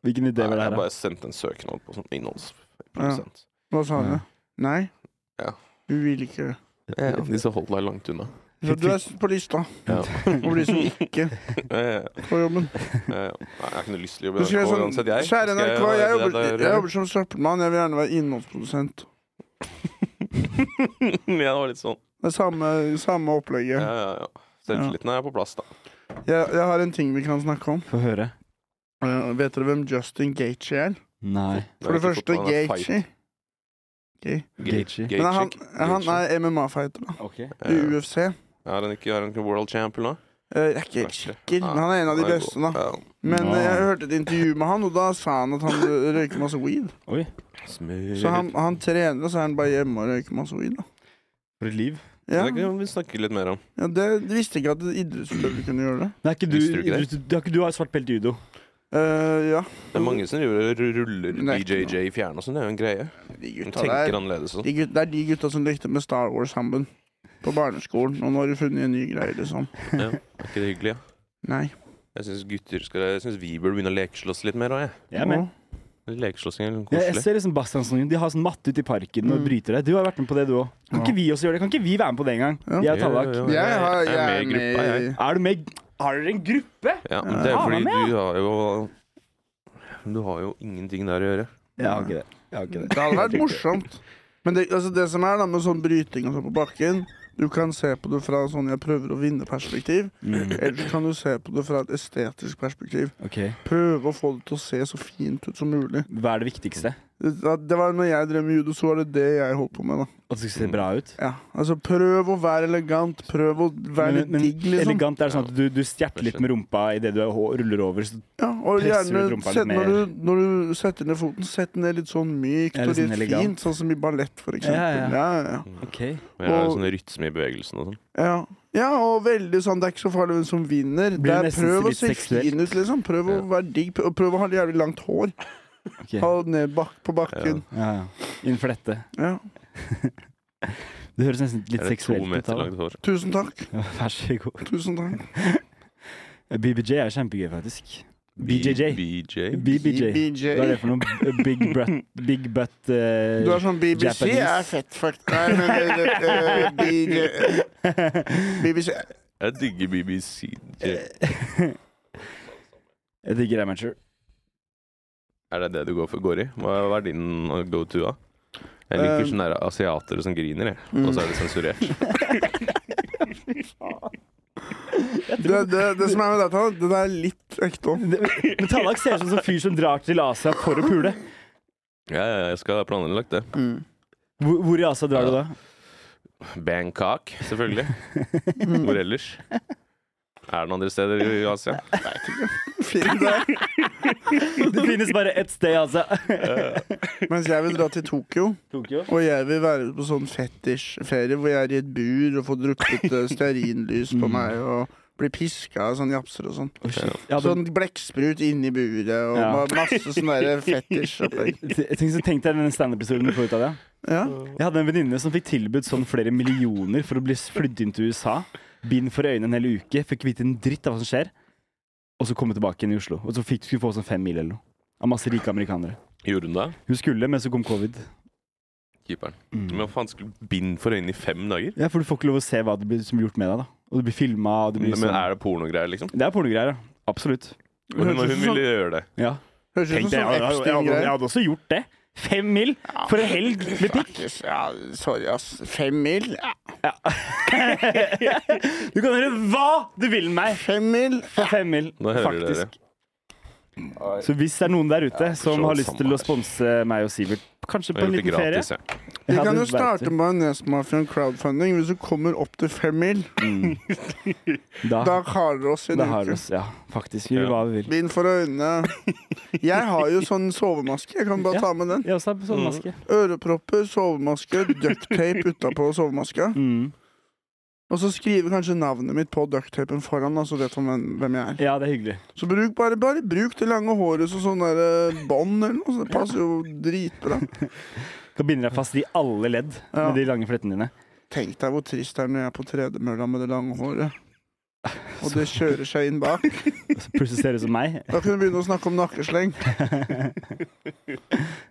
Speaker 2: Hvilken idé
Speaker 1: Nei,
Speaker 2: var det her,
Speaker 1: jeg
Speaker 2: da?
Speaker 1: bare sendte en søknad på sånn innholdsprodusent.
Speaker 3: Hva sa de?
Speaker 2: Ja.
Speaker 3: Nei.
Speaker 1: Ja.
Speaker 3: Vi vil ikke
Speaker 1: Ja. Ja, disse holdt deg langt unna.
Speaker 3: Så du er på lista
Speaker 1: Ja.
Speaker 3: over de som ikke
Speaker 1: Ja, ja, ja.
Speaker 3: får jobben.
Speaker 1: Nei, Eh, jeg har ikke noe lyst til å
Speaker 3: Du
Speaker 1: jobbe i
Speaker 3: skrev
Speaker 1: NRK
Speaker 3: sånn
Speaker 1: uansett, jeg.
Speaker 3: Kjære
Speaker 1: Skal
Speaker 3: NRK, jeg
Speaker 1: være
Speaker 3: jobber,
Speaker 1: der-
Speaker 3: jeg jobber som søppelmann. Jeg vil gjerne være innholdsprodusent.
Speaker 1: Ja, det var litt sånn.
Speaker 3: Det er samme, samme
Speaker 1: Ja,
Speaker 3: opplegget.
Speaker 1: ja, ja. Selvtilliten er på plass, da.
Speaker 3: Jeg, jeg har en ting vi kan snakke om.
Speaker 2: Få høre.
Speaker 3: Eh, vet dere hvem Justin Gaethje er?
Speaker 2: Nei.
Speaker 3: For
Speaker 1: Jeg vet
Speaker 3: det første,
Speaker 1: ikke hvordan han er
Speaker 3: Gaethje. Gay.
Speaker 1: Gaethje.
Speaker 2: Gaethje.
Speaker 3: Men han,
Speaker 1: Gaethje.
Speaker 3: han er MMA-fighter da,
Speaker 2: Ok.
Speaker 3: i
Speaker 1: Ja.
Speaker 3: UFC. Eh,
Speaker 1: Er han ikke, er han ikke world champion, da?
Speaker 3: Jeg er ikke helt
Speaker 1: Verste.
Speaker 3: sikker, men han er en av de
Speaker 1: Nei,
Speaker 3: beste. da
Speaker 1: ja.
Speaker 3: Men eh, jeg
Speaker 2: Ah.
Speaker 3: hørte et intervju med han, og da sa han at han røyker masse weed.
Speaker 2: Oi.
Speaker 3: Så han, han trener, og så er han bare hjemme og røyker masse weed. da
Speaker 2: For et liv.
Speaker 1: Ja.
Speaker 3: Ja,
Speaker 1: Det kan vi snakke litt mer om.
Speaker 3: ja det det visste ikke at idrettsutøvere kunne gjøre det.
Speaker 2: Men er ikke du,
Speaker 1: Visste du ikke det?
Speaker 2: du, du, har ikke du har svart belte i judo?
Speaker 3: Eh, ja.
Speaker 1: Det er mange som gjør ru- ruller
Speaker 3: Det er ikke
Speaker 1: BJJ i fjern og sånn. Det er jo en greie.
Speaker 3: De
Speaker 1: De
Speaker 3: gutta der
Speaker 1: tenker annerledes og sånn.
Speaker 3: de gut, Det er de gutta som lekte med Star Wars sammen. på barneskolen, og nå har du funnet en ny greie, liksom.
Speaker 1: Ja, er ikke det hyggelig? Ja?
Speaker 3: Nei.
Speaker 1: Jeg syns gutter skal Jeg synes vi burde begynne å lekeslåss litt mer òg, jeg.
Speaker 2: Jeg er med.
Speaker 3: Å,
Speaker 1: Lekeslåssing er litt
Speaker 2: Ja, jeg
Speaker 1: koselig.
Speaker 2: ser liksom Bastian og Sonjen, De har sånn matte ute i parken og
Speaker 3: Mm.
Speaker 2: bryter det. Du har vært med på det, du òg. Kan ikke vi også gjøre det? Kan ikke vi være med på det engang?
Speaker 3: Ja.
Speaker 2: Jeg og Tallak.
Speaker 1: Ja, ja, ja.
Speaker 3: Jeg, har,
Speaker 1: Jeg
Speaker 3: jeg
Speaker 1: er med
Speaker 3: er
Speaker 1: i gruppa,
Speaker 3: med i
Speaker 1: jeg.
Speaker 2: Er du med? Har dere en gruppe?
Speaker 1: Ja, men det er
Speaker 2: Ja,
Speaker 1: fordi
Speaker 2: han er med,
Speaker 1: du har jo Du har jo ingenting der å gjøre.
Speaker 2: Jeg har ikke det. Jeg har ikke det.
Speaker 3: Det hadde vært morsomt. Men det, altså det som er da med sånn bryting og sånn på bakken Du kan se på det fra sånn jeg prøver å vinne-perspektiv. Eller så kan du se på det fra et estetisk perspektiv.
Speaker 2: Ok.
Speaker 3: Prøve å få det til å se så fint ut som mulig.
Speaker 2: Hva er det viktigste?
Speaker 3: Det, det var når jeg drev med judo, så var det det jeg holdt på med. da
Speaker 2: At det skal se bra ut?
Speaker 3: ja, Altså Prøv å være elegant. Prøv å være litt digg, liksom.
Speaker 2: elegant er det sånn at du, du stjerter litt med rumpa idet du hå- ruller over. Så
Speaker 3: Ja, og
Speaker 2: presser
Speaker 3: gjerne
Speaker 2: ut rumpa litt
Speaker 3: sett,
Speaker 2: mer.
Speaker 3: når, du, når du setter ned foten, sett den ned litt sånn mykt
Speaker 2: Ja,
Speaker 3: og
Speaker 2: litt sånn
Speaker 3: litt
Speaker 2: elegant.
Speaker 3: fint. Sånn som i ballett, for
Speaker 2: Ja, ja.
Speaker 3: eksempel. Ja, ja, ja.
Speaker 1: Og Jeg har jo
Speaker 3: Og-
Speaker 1: sånn rytme i bevegelsen og sånn.
Speaker 3: Ja. ja, og veldig sånn, det er ikke så farlig hvem som vinner.
Speaker 2: Blir
Speaker 3: Det er
Speaker 2: nesten
Speaker 3: Prøv å
Speaker 2: litt
Speaker 3: se
Speaker 2: seksuelt.
Speaker 3: fin ut, liksom. Prøv å være digg. Prøv, prøv å ha jævlig langt hår. Ha det ned bak på bakken.
Speaker 2: Ja, ja. Innenfor dette.
Speaker 3: Ja.
Speaker 2: Det høres nesten litt
Speaker 1: Er det to
Speaker 2: seksuelt ut.
Speaker 1: meter
Speaker 2: da.
Speaker 1: langt hår?
Speaker 3: Tusen takk.
Speaker 2: Ja, Vær så god.
Speaker 3: Tusen takk.
Speaker 2: BBJ er kjempegøy, faktisk. BJJ.
Speaker 1: BJ.
Speaker 2: BBJ.
Speaker 3: BBJ.
Speaker 2: Hva er det for noe? Big butt, big butt eh,
Speaker 3: Du er sånn BBC
Speaker 2: Japanese.
Speaker 3: er fett, fuck. Nei, men eh, eh, BJ. BBC
Speaker 1: Jeg digger BBC.
Speaker 2: Eh. Jeg digger amateur.
Speaker 1: Er det det du går, for, går i? Hva hva er din go to, da? Jeg
Speaker 2: Eh.
Speaker 1: liker
Speaker 3: Um,
Speaker 1: sånne der asiatere som griner, jeg.
Speaker 3: mm.
Speaker 1: Og så er det sensurert.
Speaker 3: det, det, det som er med dette, det der er litt ekte òg.
Speaker 2: Det- Men Tallak ser ut som en sånn fyr som drar til Asia for å pule.
Speaker 1: Ja, ja, jeg skal ha planlagt det.
Speaker 2: Mm. Hvor, hvor i Asia drar du da?
Speaker 1: Bangkok, selvfølgelig.
Speaker 3: Mm.
Speaker 1: Hvor ellers? Er det noen andre steder i Asia?
Speaker 2: Det finnes bare ett sted i Asia.
Speaker 3: Mens jeg vil dra til Tokyo,
Speaker 2: Tokyo?
Speaker 3: og jeg vil være på sånn fetisjferie hvor jeg er i et bur og får drukket eh, stearinlys
Speaker 2: Mm.
Speaker 3: på meg og blir piska av sånn japser og sånn.
Speaker 2: Ja,
Speaker 3: Sånn blekksprut inni buret og
Speaker 2: Ja.
Speaker 3: ma- masse sånn derre fetisj-opplegg.
Speaker 2: Tenk, så- tenk deg den standup-episoden du får ut av det.
Speaker 3: Ja.
Speaker 2: Jeg hadde en venninne som fikk tilbudt sånn flere millioner for å bli flydd inn til USA. Bind for øynene en hel uke, fikk vite en dritt av hva som skjer. Og så komme tilbake igjen i Oslo. Og så fikk, skulle få sånn fem mil eller noe. Av masse rike amerikanere.
Speaker 1: Gjorde hun det?
Speaker 2: Hun skulle, men så kom covid.
Speaker 1: Keeperen. Men
Speaker 2: Mm.
Speaker 1: hva faen skulle bind for øynene i fem dager?
Speaker 2: Ja, for du får ikke lov å se hva det blir, som blir gjort med deg, da. Og du blir filma, og du blir
Speaker 1: Men
Speaker 2: sånn
Speaker 1: er det pornogreier, liksom?
Speaker 2: Det er pornogreier, ja. Absolutt.
Speaker 1: Og hun,
Speaker 3: Høres ut
Speaker 1: hun
Speaker 3: som-
Speaker 2: sånn
Speaker 1: ville gjøre det.
Speaker 2: Ja.
Speaker 3: høres ut som
Speaker 2: Tenk det, jeg,
Speaker 3: sånn
Speaker 2: hadde- jeg, hadde- jeg
Speaker 3: Epstein-greie.
Speaker 2: hadde også gjort det. Fem mil for en helg med pikk.
Speaker 3: Faktisk, Ja, sorry, ass. Fem mil? Ja.
Speaker 2: Du kan gjøre hva du vil med meg
Speaker 3: Fem mil?
Speaker 2: for fem mil,
Speaker 1: Nå hører dere.
Speaker 2: faktisk. Så hvis det er noen der ute som har lyst til å sponse meg og Sivert, kanskje
Speaker 1: Jeg
Speaker 2: på
Speaker 1: har
Speaker 2: en
Speaker 1: gjort det
Speaker 2: liten ferie
Speaker 1: gratis, jeg.
Speaker 3: Vi
Speaker 2: Ja,
Speaker 3: kan
Speaker 2: det
Speaker 3: jo
Speaker 2: vet
Speaker 3: starte
Speaker 2: du.
Speaker 3: Majonesmafiaen crowdfunding. Hvis du kommer opp til fem mil, da
Speaker 2: Da,
Speaker 3: har dere oss i en
Speaker 2: Ah. da har vi
Speaker 3: uke.
Speaker 2: oss Ja, faktisk. Vi gjør hva vi vil.
Speaker 3: Bind for øynene. Jeg har jo sånn sovemaske. Jeg kan bare
Speaker 2: Ja.
Speaker 3: ta med den.
Speaker 2: Jeg også har
Speaker 1: Mm.
Speaker 2: sånn maske.
Speaker 3: Ørepropper, sovemaske, ducktape utapå sovemaska.
Speaker 2: Mm.
Speaker 3: Og så skriver kanskje navnet mitt på ducktapen foran, da, så vet han hvem- hvem jeg er.
Speaker 2: Ja, det er hyggelig.
Speaker 3: Så bruk bare, bare bruk det lange håret som sånn der, eh, bånd eller noe. Så det passer jo dritbra.
Speaker 2: Kan binde deg fast i alle ledd
Speaker 3: Ja.
Speaker 2: med de lange flettene dine.
Speaker 3: Tenk deg hvor trist det er når jeg er på tredemølla med det lange håret. Og det kjører seg inn bak.
Speaker 2: Og så plutselig ser du ut som meg.
Speaker 3: Da kunne du begynne å snakke om nakkesleng.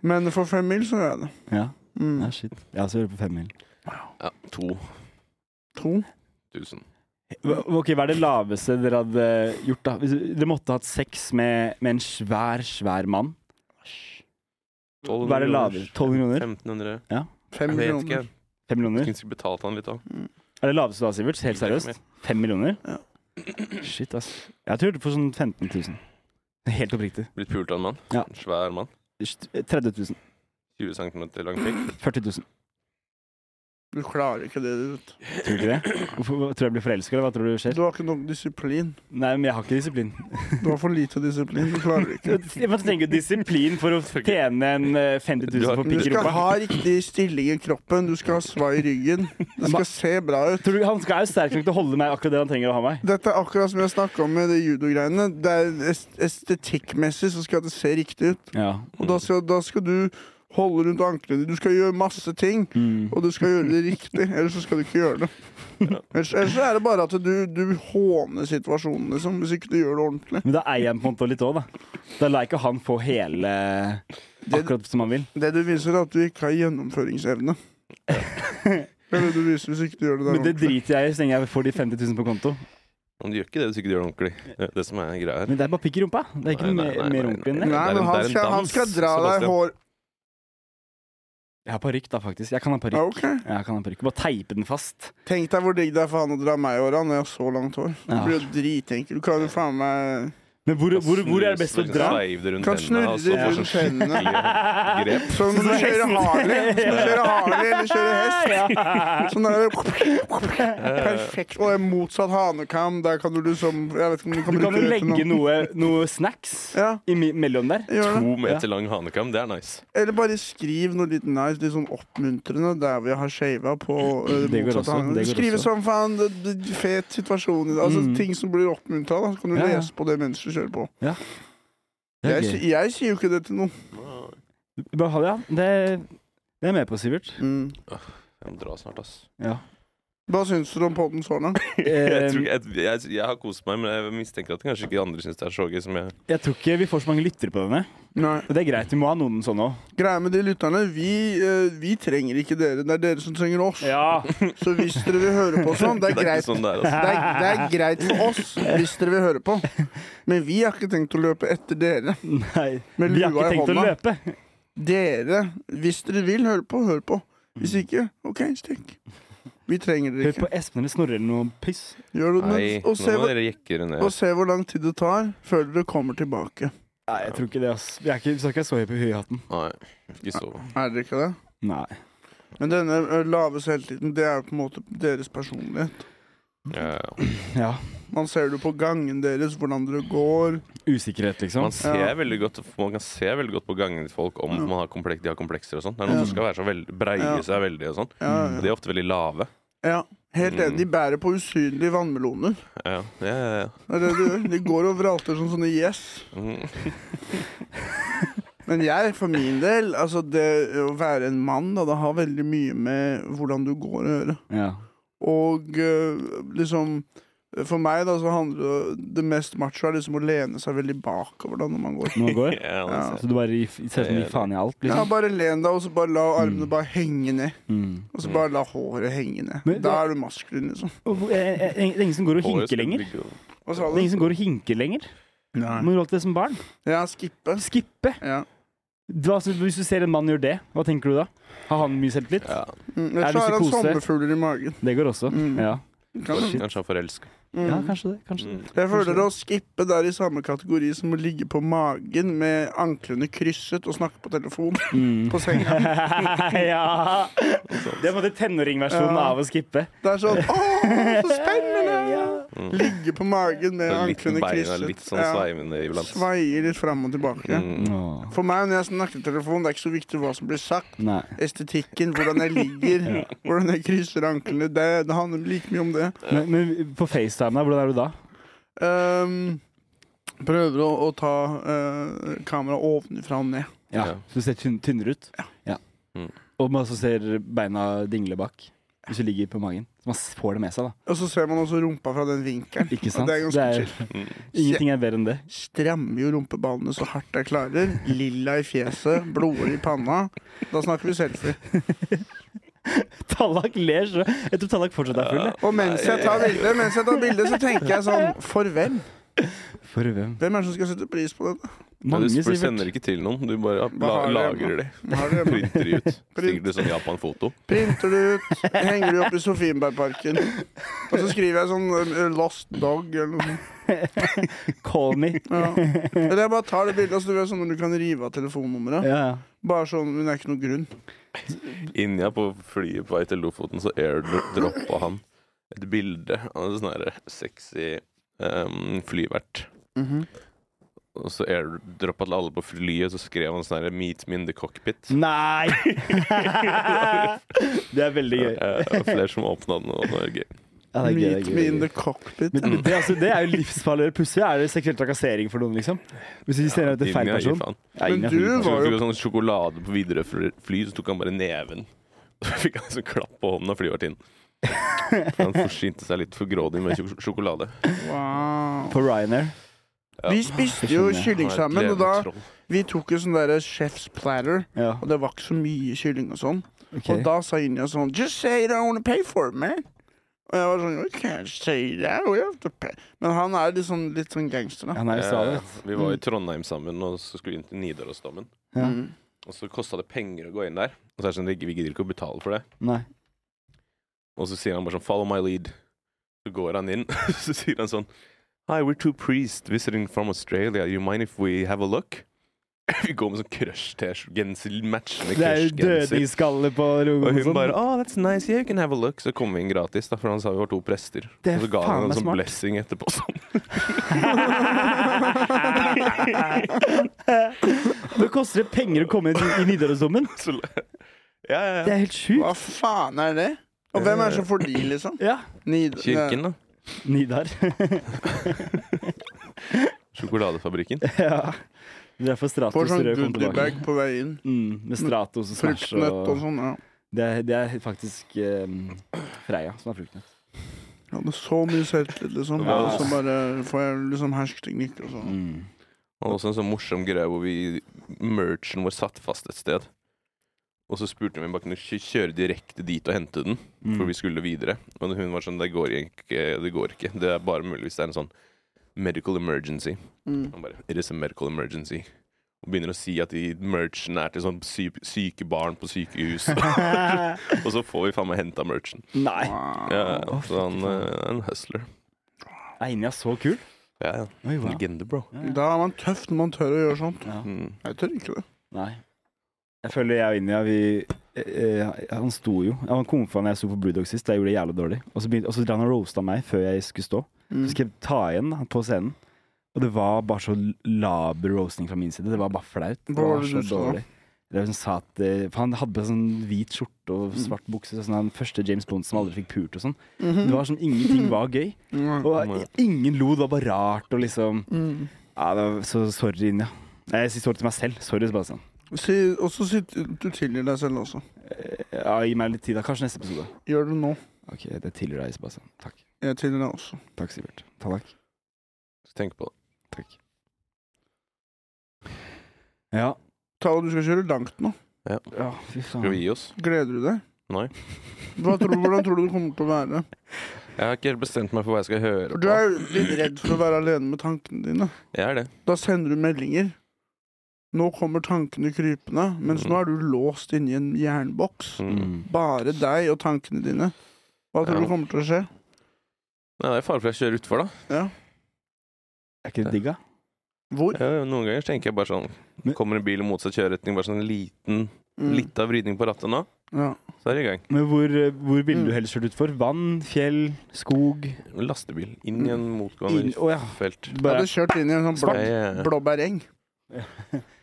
Speaker 3: Men for fem mil så gjør jeg det.
Speaker 2: Ja,
Speaker 3: Mm.
Speaker 2: ja shit. Jeg også gjør det på fem mil.
Speaker 1: Ja, to
Speaker 3: To.
Speaker 1: tusen.
Speaker 2: Hva- Ok, Hva er det laveste dere hadde gjort? da? Hvis Dere måtte hatt sex med, med en svær, svær mann. Hva er det lavere? 12 kroner?
Speaker 1: 1500?
Speaker 3: Fem
Speaker 1: Jeg vet ikke.
Speaker 3: millioner. Mm.
Speaker 2: Fem millioner?
Speaker 1: Skulle ikke betalt han litt av.
Speaker 2: Er det laveste du har, Sivert? Helt seriøst? Fem millioner?
Speaker 3: Ja.
Speaker 2: Shit, ass. Jeg tror det for sånn 15 000. Helt oppriktig.
Speaker 1: Blitt pult av en mann.
Speaker 2: Ja.
Speaker 1: En svær mann.
Speaker 2: 30 000.
Speaker 1: 20 cm lang pikk.
Speaker 2: 40 000.
Speaker 3: Du klarer ikke det, du. vet.
Speaker 2: Tror du ikke det? Hvorfor, hva- tror jeg blir forelska, eller hva tror du skjer?
Speaker 3: Du har ikke nok disiplin.
Speaker 2: Nei, men jeg har ikke disiplin.
Speaker 3: Du har for lite disiplin. Du klarer det ikke.
Speaker 2: Man trenger jo disiplin for å tjene en eh, 50 000 for
Speaker 1: Du
Speaker 3: Du
Speaker 2: pikk i
Speaker 3: skal
Speaker 2: rumpa.
Speaker 3: ha riktig stilling i kroppen. Du skal ha svai i ryggen. Det skal se bra ut.
Speaker 2: Tror du, han skal er jo sterk nok til å holde meg akkurat det han trenger å ha meg.
Speaker 3: Dette er akkurat som jeg snakka om med de judogreiene. Det er est- Estetikkmessig så skal det se riktig ut.
Speaker 2: Ja.
Speaker 3: Og da skal, da skal du holde rundt anklene. Du skal gjøre masse ting, og du skal gjøre det riktig. Ellers så skal du ikke gjøre det. Ellers, ellers så er det bare at du, du håner situasjonen, liksom, hvis ikke du gjør det ordentlig.
Speaker 2: Men da eier han på en måte litt òg, da. Da lar ikke han få hele akkurat som han vil.
Speaker 3: Det du viser, er at du ikke har gjennomføringsevne. Det er det du viser hvis ikke du gjør det der
Speaker 2: Men det
Speaker 3: ordentlig.
Speaker 2: driter jeg i så lenge jeg får de 50 000 på konto.
Speaker 1: Men du gjør ikke det hvis ikke du gjør det ordentlig. Det er det som er greia her.
Speaker 2: Men det er bare pikk i rumpa. Det er ikke
Speaker 1: Nei, nei,
Speaker 2: mer-
Speaker 1: nei,
Speaker 2: mer
Speaker 1: nei,
Speaker 2: rumpe enn
Speaker 1: nei.
Speaker 2: det.
Speaker 1: Det
Speaker 3: Nei,
Speaker 1: er en-
Speaker 3: men han
Speaker 1: det er en
Speaker 3: skal, han
Speaker 1: dans,
Speaker 3: skal dra deg
Speaker 1: Sebastian.
Speaker 3: hår
Speaker 2: Jeg har parykk, da, faktisk. Jeg kan ha
Speaker 3: ja,
Speaker 2: parykk.
Speaker 3: OK.
Speaker 2: Jeg kan ha parykk. Bare teipe den fast.
Speaker 3: Tenk deg hvor digg det er for han å dra meg i håret når jeg har så langt hår. Det
Speaker 2: Ja.
Speaker 3: blir jo dritenkel. Du kan jo faen meg
Speaker 2: Men hvor, hvor, hvor er det best å dra?
Speaker 1: Sveiv det rundt
Speaker 3: Kan
Speaker 1: hendene,
Speaker 3: snurre
Speaker 1: og så får
Speaker 3: rundt
Speaker 1: sånn skikkelig grep.
Speaker 3: Sånn når du kjører Harley, hvis du kjører Harley eller kjører hest. Sånn der, perfekt. Og en motsatt hanekam, der kan du liksom Jeg vet ikke om
Speaker 2: Du
Speaker 3: du kan
Speaker 2: kan
Speaker 3: bruke
Speaker 2: jo
Speaker 3: det til
Speaker 2: legge noe,
Speaker 3: noe.
Speaker 2: noe snacks
Speaker 3: Ja,
Speaker 2: imellom der.
Speaker 3: gjør det.
Speaker 1: To meter lang hanekam, det er nice.
Speaker 3: Eller bare skriv noe litt nice, litt sånn oppmuntrende, der vi har shava på eh,
Speaker 2: Det går
Speaker 3: motsatt
Speaker 2: også,
Speaker 3: hane.
Speaker 2: det går
Speaker 3: Skrive
Speaker 2: også.
Speaker 3: sånn faen, det- det- fet situasjon i det. Altså
Speaker 2: Mm.
Speaker 3: ting som blir oppmuntra, da. Så kan du
Speaker 2: Ja, ja.
Speaker 3: lese på det mens du kjører på.
Speaker 2: Det er
Speaker 3: Jeg,
Speaker 2: gøy.
Speaker 3: si- jeg sier jo ikke det til noen.
Speaker 2: Bare ha det, ja. Det, det er jeg med på, Sivert.
Speaker 3: Mm.
Speaker 1: Jeg må dra snart, ass.
Speaker 2: Ja.
Speaker 3: Hva syns du om podden så langt?
Speaker 1: Jeg, tror,
Speaker 2: Eh,
Speaker 1: ikke- jeg, jeg, jeg har kost meg, men jeg mistenker at kanskje ikke andre syns det er så gøy som jeg.
Speaker 2: jeg tror ikke vi får så mange lyttere på denne.
Speaker 3: Nei.
Speaker 2: Og det er greit, vi må ha noen sånne òg.
Speaker 3: Greia med de lytterne, vi, eh, vi trenger ikke dere. Det er dere som trenger oss.
Speaker 2: Ja.
Speaker 3: Så hvis dere vil høre på sånn, det er
Speaker 1: Det er
Speaker 3: greit.
Speaker 1: ikke sånn det er,
Speaker 3: Det
Speaker 1: ass.
Speaker 3: er, det er greit for oss hvis dere vil høre på, men vi har ikke tenkt å løpe etter dere.
Speaker 2: Nei.
Speaker 3: Med
Speaker 2: Vi har ikke
Speaker 3: lua i
Speaker 2: tenkt å
Speaker 3: hånda.
Speaker 2: løpe.
Speaker 3: Dere, hvis dere vil høre på, hør på. Hvis ikke, OK, stikk. Vi trenger dere
Speaker 2: Hør
Speaker 3: ikke.
Speaker 2: på Espen eller Snorre eller noe piss.
Speaker 3: Gjør det, men,
Speaker 1: Nei,
Speaker 3: og, se
Speaker 1: nå må
Speaker 3: hvor,
Speaker 1: dere jekke det ned.
Speaker 3: og se hvor lang tid det tar før dere kommer tilbake.
Speaker 2: Nei, jeg tror ikke det, ass. Vi, er ikke, vi skal ikke være så høye på høyhatten.
Speaker 1: Nei, ikke så.
Speaker 3: Er dere ikke det?
Speaker 2: Nei.
Speaker 3: Men denne ø, lave selvtilliten, det er jo på en måte deres personlighet.
Speaker 1: Ja, ja.
Speaker 2: Ja.
Speaker 3: Man ser det på gangen deres, hvordan dere går.
Speaker 2: Usikkerhet, liksom.
Speaker 1: Man ser
Speaker 3: Ja.
Speaker 1: veldig godt Man kan se veldig godt på gangen til folk om
Speaker 3: Ja.
Speaker 1: man har komplek, de har komplekser og sånn. Det er noen
Speaker 3: Ja.
Speaker 1: som skal være så veldig, breie
Speaker 3: Ja.
Speaker 1: seg veldig og sånn.
Speaker 3: Ja,
Speaker 1: Og
Speaker 3: ja.
Speaker 1: de er ofte veldig lave.
Speaker 3: ja. Helt enig. De bærer på usynlige vannmeloner.
Speaker 1: Ja, ja, ja, ja.
Speaker 3: Det er det de gjør. De går og vralter sånn som sånne gjess.
Speaker 1: Mm.
Speaker 3: Men jeg, for min del, altså det å være en mann, da, det har veldig mye med hvordan du går å gjøre.
Speaker 2: Ja.
Speaker 3: Og eh, liksom For meg, da, så handler det Det mest macho er liksom å lene seg veldig bakover da når man går.
Speaker 2: Nå går.
Speaker 1: Ja, det
Speaker 3: Ja.
Speaker 1: ser jeg.
Speaker 2: Så du bare gir- ser ut som du gir faen i alt,
Speaker 3: Ja,
Speaker 2: liksom.
Speaker 3: bare len deg, og så bare la armene
Speaker 2: Mm.
Speaker 3: bare henge ned.
Speaker 2: Mm.
Speaker 3: Og så bare la håret henge ned.
Speaker 2: Men
Speaker 3: da
Speaker 2: da-
Speaker 3: er du maskulin, liksom.
Speaker 2: Og hvor- eh, eh, Det er ingen som går og
Speaker 1: Håret
Speaker 2: hinker
Speaker 1: skal
Speaker 2: lenger.
Speaker 1: ligge og-
Speaker 3: Hva
Speaker 2: Det
Speaker 3: sa
Speaker 2: er
Speaker 3: du?
Speaker 2: ingen som går og hinker lenger.
Speaker 3: Nei.
Speaker 2: Man gjør alltid det som barn.
Speaker 3: Ja, skippe.
Speaker 2: Skippe.
Speaker 3: Ja.
Speaker 2: Hva, så hvis du ser en mann gjøre det, hva tenker du da? Har han mye selvtillit?
Speaker 1: Ja,
Speaker 3: Mm,
Speaker 2: Er
Speaker 3: Ellers
Speaker 2: du
Speaker 3: så har han
Speaker 2: psykose?
Speaker 3: sommerfugler i magen.
Speaker 2: Det går også.
Speaker 3: Mm.
Speaker 2: Ja.
Speaker 3: Kan det?
Speaker 1: kanskje han er forelska.
Speaker 3: Mm.
Speaker 2: ja, kanskje det. Kanskje
Speaker 1: Mm.
Speaker 2: det.
Speaker 3: Jeg føler å skippe der i samme kategori som å ligge på magen med anklene krysset og snakke på telefon
Speaker 2: Mm.
Speaker 3: på senga.
Speaker 2: ja! Det er på en måte tenåringversjonen
Speaker 3: Ja.
Speaker 2: av å skippe.
Speaker 3: Det er sånn Å, så spennende!
Speaker 1: Mm.
Speaker 3: Ligge på magen med
Speaker 1: Så litt
Speaker 3: anklene
Speaker 1: beina
Speaker 3: krysset.
Speaker 1: er litt sånn
Speaker 3: Ja.
Speaker 1: sveivende iblant.
Speaker 3: Sveier litt fram og tilbake.
Speaker 1: Mm.
Speaker 3: For meg når jeg snakker i telefon, det er ikke så viktig hva som blir sagt.
Speaker 2: Nei.
Speaker 3: Estetikken, hvordan jeg ligger, hvordan jeg krysser anklene. Det, det handler like mye om det.
Speaker 2: Men, men på FaceTime, da, hvordan er du da?
Speaker 3: Ehm, prøver å, å ta uh, kameraet ovenfra og ned.
Speaker 2: Ja,
Speaker 1: Ja.
Speaker 2: Så du ser tynn, tynnere ut? Ja.
Speaker 1: Mm.
Speaker 2: Og man også ser beina dingle bak hvis du ligger på magen. Så man s- får det med seg, da.
Speaker 3: Og så ser man også rumpa fra den vinkelen.
Speaker 2: Ikke
Speaker 3: Og
Speaker 2: sant?
Speaker 3: det er ganske chill.
Speaker 1: Mm.
Speaker 2: ingenting er bedre enn det.
Speaker 3: Strammer jo rumpeballene så hardt jeg klarer. Lilla i fjeset, blodår i panna. Da snakker vi selfie.
Speaker 2: Tallak ler så Jeg tror Tallak fortsatt er full. jeg.
Speaker 3: Og mens jeg tar bildet, mens jeg tar bildet, så tenker jeg sånn For hvem?
Speaker 2: For hvem?
Speaker 3: Hvem er det som skal sette pris på dette?
Speaker 1: Men
Speaker 2: Mange,
Speaker 1: du spør,
Speaker 2: Sivert.
Speaker 1: sender ikke til noen. Du bare ja, la,
Speaker 3: har du
Speaker 1: lagrer de.
Speaker 3: Hva er det?
Speaker 1: Printer de ut. Stikker du sånn Japan-foto.
Speaker 3: Printer det ut, henger det opp i Sofienbergparken. Og så skriver jeg sånn eh, 'Lost Dog' eller noe sånt.
Speaker 2: Call me.
Speaker 3: Ja. Eller jeg bare tar det bildet, og så du vet sånn når du kan rive av
Speaker 2: Ja,
Speaker 3: telefonnummeret.
Speaker 2: ja.
Speaker 3: Bare sånn, men det er ikke noe grunn.
Speaker 1: Inni her på flyet på vei til Lofoten, så airdroppa han et bilde av en sånn her sexy um, flyvert.
Speaker 2: Mhm.
Speaker 1: Og så airdroppa til alle på flyet, så skrev han sånn her 'Meet me in the
Speaker 2: Mm,
Speaker 1: cockpit'.
Speaker 2: Nei! det er veldig gøy.
Speaker 1: Eh, Flere som åpna den, og det var gøy.
Speaker 2: Ja, det er gøy, det er
Speaker 3: Meet
Speaker 2: gøy, det
Speaker 3: me
Speaker 2: er
Speaker 3: in
Speaker 2: gøy.
Speaker 3: the cockpit.
Speaker 2: Men
Speaker 1: Mm.
Speaker 2: det, altså, det er jo livsfarlig å gjøre. Plutselig er det seksuell trakassering for noen, liksom. Hvis de sender ut til feil
Speaker 1: Ingen gir
Speaker 2: person.
Speaker 1: faen.
Speaker 2: Ja,
Speaker 3: Men
Speaker 2: ingen
Speaker 3: du
Speaker 2: har-
Speaker 1: Så
Speaker 3: var
Speaker 1: tok
Speaker 3: jo
Speaker 1: han sånn sjokolade på videre fly, så tok han bare neven. Så fikk han sånn klapp på hånden av flyvertinnen. For Han forsynte seg litt for grådig med sjok- sjokolade.
Speaker 3: Wow.
Speaker 2: På Ryanair.
Speaker 1: Ja.
Speaker 3: Vi spiste jo
Speaker 2: skjønner jeg.
Speaker 3: kylling
Speaker 1: Han
Speaker 3: sammen,
Speaker 1: er et
Speaker 3: og da
Speaker 1: levende troll.
Speaker 3: Vi tok jo sånn derre chef's platter,
Speaker 2: Ja,
Speaker 3: og det var ikke så mye kylling og sånn.
Speaker 2: ok.
Speaker 3: Og da sa Inja sånn Just say you don't wanna pay for it, man. Og jeg var sånn You can't say that. We have to pay. Men han er litt sånn, litt sånn gangster, da.
Speaker 2: Han er i Australia.
Speaker 1: Eh, Vi
Speaker 2: Mm.
Speaker 1: var i Trondheim sammen, og så skulle vi inn til Nidarosdomen.
Speaker 2: Ja.
Speaker 3: Mm.
Speaker 1: Og så kosta det penger å gå inn der. Og så er det sånn, vi gidder ikke å betale for det.
Speaker 2: Nei.
Speaker 1: Og så sier han bare sånn 'Follow my lead'. Så går han inn, så sier han sånn Hi, we're two priests visiting from Australia. You mind if we have a look? Vi går med sånn crush-genser, matchende
Speaker 2: Det er jo
Speaker 1: crush-genser.
Speaker 2: dødningsskalle på
Speaker 1: Og
Speaker 2: logoen og
Speaker 1: hun bare
Speaker 2: sånn.
Speaker 1: oh, that's nice, yeah, you can have a look. Så kom vi inn gratis, da, for han sa vi var to prester.
Speaker 2: Det
Speaker 1: og
Speaker 2: er
Speaker 1: så ga
Speaker 2: faen
Speaker 1: han en
Speaker 2: meg
Speaker 1: sånn
Speaker 2: smart.
Speaker 1: blessing etterpå. Sånn.
Speaker 2: Det koster det penger å komme inn i Nidarosdomen.
Speaker 1: Så, ja, ja,
Speaker 2: Det
Speaker 1: ja.
Speaker 2: er helt
Speaker 3: Hva
Speaker 2: sjukt.
Speaker 3: faen er det? Og hvem er det som får de, liksom?
Speaker 2: Ja.
Speaker 3: Nid-
Speaker 1: Eh, Kirken, da.
Speaker 2: Nidar.
Speaker 1: Sjokoladefabrikken.
Speaker 2: ja. Det er for
Speaker 3: Får
Speaker 2: Stratos
Speaker 3: sånn
Speaker 2: rød kom tilbake.
Speaker 3: goodiebag på vei inn.
Speaker 2: Mm, med Stratos og Smash
Speaker 3: Fruktnøtt og
Speaker 2: og
Speaker 3: sånn. Ja.
Speaker 2: Det er, det er faktisk eh, Freya som er fruktnøtt.
Speaker 3: Jeg hadde så mye selvtillit, liksom.
Speaker 1: Ja.
Speaker 3: Og så bare får jeg liksom hersketeknikk og sånn.
Speaker 2: Mm.
Speaker 1: Og også en sånn morsom greie hvor vi merchen vår satt fast et sted. Og så spurte vi om vi bare kunne kjø- kjøre direkte dit og hente den,
Speaker 2: Mm.
Speaker 1: for vi skulle videre. Og hun var sånn Det går ikke. Det går ikke. Det er bare mulig hvis det er en sånn medical emergency.
Speaker 3: Mm.
Speaker 1: Han bare It is a medical emergency. Og begynner å si at de merchen er til sånn sy syke barn på sykehus. og så får vi faen meg henta merchen.
Speaker 2: Nei.
Speaker 3: Wow.
Speaker 1: Ja,
Speaker 2: Å,
Speaker 1: så han
Speaker 2: fytti
Speaker 1: eh,
Speaker 2: faen.
Speaker 1: er en hustler.
Speaker 2: Er Inja så kul?
Speaker 1: Ja, ja.
Speaker 2: Oi, wow.
Speaker 1: Legende, bro.
Speaker 3: Da er man tøff når man tør å gjøre sånt.
Speaker 2: Ja.
Speaker 1: Mm.
Speaker 3: Jeg tør ikke det.
Speaker 2: Nei. Jeg føler jeg og Inja, vi eh, eh, Han sto jo. Ja, Han kom fra når jeg sto på Brewdog sist, da jeg gjorde det jævlig dårlig. Og så, begynte, og så drev han og roasta meg før jeg skulle stå.
Speaker 3: Mm.
Speaker 2: Så skal jeg ta igjen da, på scenen. Og det var bare så laber roasting fra min side. Det var bare flaut. Det
Speaker 3: Hva var
Speaker 2: var
Speaker 3: det
Speaker 2: så
Speaker 3: du sa?
Speaker 2: dårlig. Det var sånn sa at, eh, for han hadde på seg sånn hvit skjorte og svart bukse. så Sånn, han første James Bond som aldri fikk pult og sånn.
Speaker 3: Mhm.
Speaker 2: Det var som ingenting var gøy.
Speaker 3: Mm.
Speaker 2: Og ingen lo, det var bare rart og liksom
Speaker 3: Mm.
Speaker 2: ja, det var Så sorry, Inja. Nei, Jeg sier sorry til meg selv. Sorry, Sebastian.
Speaker 3: Si, og så sitter du tilgir deg selv også.
Speaker 2: Eh, Ja, gi meg litt tid, da. Kanskje neste episode.
Speaker 3: Gjør det nå.
Speaker 2: Ok, det tilgir deg, Sebastian. Takk.
Speaker 3: Jeg tilgir deg også.
Speaker 2: Takk, Sivert. Takk.
Speaker 1: Tenk på det.
Speaker 2: Takk. Ja.
Speaker 3: Tao, du skal kjøre langt nå.
Speaker 2: ja, fy faen.
Speaker 1: Skal vi gi oss?
Speaker 3: Gleder du deg?
Speaker 1: Nei.
Speaker 3: Hva tror, du- hvordan tror du det kommer til å være?
Speaker 1: Jeg har ikke helt bestemt meg for hva jeg skal høre
Speaker 3: For
Speaker 1: på.
Speaker 3: Du er jo litt redd for å være alene med tankene dine.
Speaker 1: Jeg er det.
Speaker 3: Da sender du meldinger. Nå kommer tankene krypende, mens nå er du låst inni en jernboks.
Speaker 1: Mm.
Speaker 2: Mm.
Speaker 3: Bare deg og tankene dine. Hva tror
Speaker 1: Ja.
Speaker 3: du kommer til å skje?
Speaker 1: Nei, det er fare for jeg kjører utfor, da.
Speaker 3: Ja.
Speaker 2: Er ikke det digg, da?
Speaker 3: Hvor?
Speaker 1: Ja, Noen ganger så tenker jeg bare sånn
Speaker 2: Men-
Speaker 1: Kommer en bil i motsatt kjøreretning, bare sånn en liten
Speaker 3: Mm.
Speaker 1: Litt av vridning på rattet nå,
Speaker 3: Ja.
Speaker 1: så er det i gang.
Speaker 2: Men hvor, eh, hvor ville du
Speaker 3: Mm.
Speaker 2: helst kjørt utfor? Vann, fjell, skog?
Speaker 1: Lastebil inn i en
Speaker 2: Inn-
Speaker 1: motgående
Speaker 2: å, ja.
Speaker 1: felt.
Speaker 3: Jeg
Speaker 2: Bare,
Speaker 3: hadde kjørt inn i en sånn blå,
Speaker 1: Ja, ja, ja.
Speaker 3: blåbæreng.
Speaker 1: Det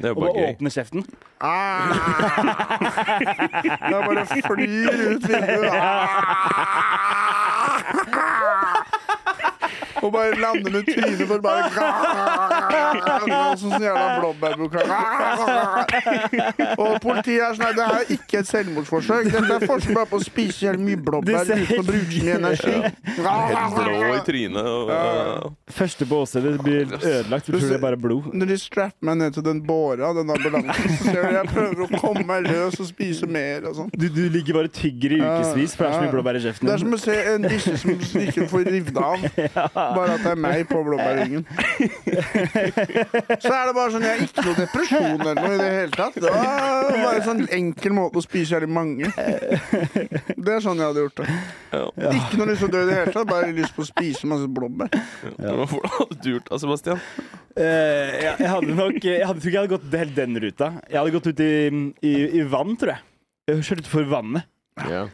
Speaker 1: er jo
Speaker 2: og
Speaker 1: bare
Speaker 2: bare
Speaker 1: gøy.
Speaker 2: åpne kjeften?
Speaker 3: Ah! Det bare flyr ut vinduet. Ah! Og bare lander med trynet for bare Og sånn sånn jævla blåbærbukett. Og politiet er sånn Nei, det her er ikke et selvmordsforsøk. Dette er forsøk bare på å spise så jævlig mye blåbær
Speaker 2: Det ser
Speaker 3: uten å bruke mye energi.
Speaker 1: Helt blå i trynet og
Speaker 2: Første på åstedet blir ødelagt. Du tror det er bare blod.
Speaker 3: Når de strapper meg ned til den båra, den ambulansen, så ser du jeg prøver å komme meg løs og spise mer og sånn.
Speaker 2: Du, du ligger bare og tygger i ukevis, for det er så
Speaker 3: Ja.
Speaker 2: mye blåbær i kjeften.
Speaker 3: Det er som å se en disse som ikke får rivd av. Bare at det er meg på blåbærringen. Så er det bare sånn Jeg har ikke noe depresjon eller noe i det hele tatt. Det var bare en sånn enkel måte å spise jævlig mange. Det er sånn jeg hadde gjort det.
Speaker 1: ja.
Speaker 3: Ikke noe lyst til å dø i det hele tatt, bare lyst på å spise masse blåbær.
Speaker 1: Men Hvordan hadde du gjort det, Sebastian?
Speaker 2: Eh, jeg, jeg hadde nok Jeg hadde, tror ikke jeg hadde gått helt den ruta. Jeg hadde gått ut i, i, i vann, tror jeg. jeg Kjørt utfor vannet.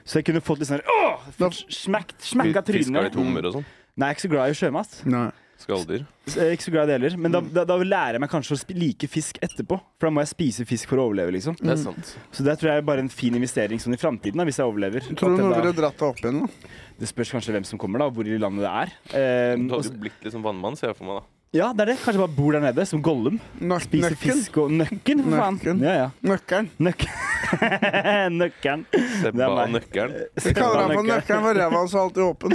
Speaker 2: Så jeg kunne fått litt sånn åh,
Speaker 3: Da-
Speaker 2: fått smekt, smekka
Speaker 1: Fiska
Speaker 2: trynet. Mm.
Speaker 1: litt hummer og sånn.
Speaker 2: Nei, jeg er ikke så glad i sjømat.
Speaker 3: Nei.
Speaker 1: Skalldyr.
Speaker 2: Jeg er ikke så glad i det heller. Men da,
Speaker 3: Mm.
Speaker 2: da, da lærer jeg meg kanskje å sp- like fisk etterpå. For da må jeg spise fisk for å overleve, liksom.
Speaker 1: Det er sant.
Speaker 2: Så det tror jeg er bare en fin investering sånn i framtiden, da, hvis jeg overlever.
Speaker 3: Tror du
Speaker 2: At
Speaker 3: noen
Speaker 2: jeg
Speaker 3: ville dratt deg opp igjen? da?
Speaker 2: da, det spørs kanskje hvem som kommer, da, og hvor i landet det er. Ehm,
Speaker 1: Du
Speaker 2: og
Speaker 1: hadde
Speaker 2: s-
Speaker 1: jo blitt liksom vannmann, ser jeg for meg. da
Speaker 2: ja, det er det. Kanskje jeg bare bor der nede, som Gollum.
Speaker 3: Nøk
Speaker 2: Spiser
Speaker 3: nøkken?
Speaker 2: fisk og Nøkken, for faen.
Speaker 3: Nøkken.
Speaker 2: Ja, ja.
Speaker 3: Nøkkelen.
Speaker 2: Nøkken. Nøkken.
Speaker 1: Sebba og
Speaker 2: meg.
Speaker 1: nøkkelen.
Speaker 3: Vi kaller ham for nøkkelen, for ræva hans er alltid åpen.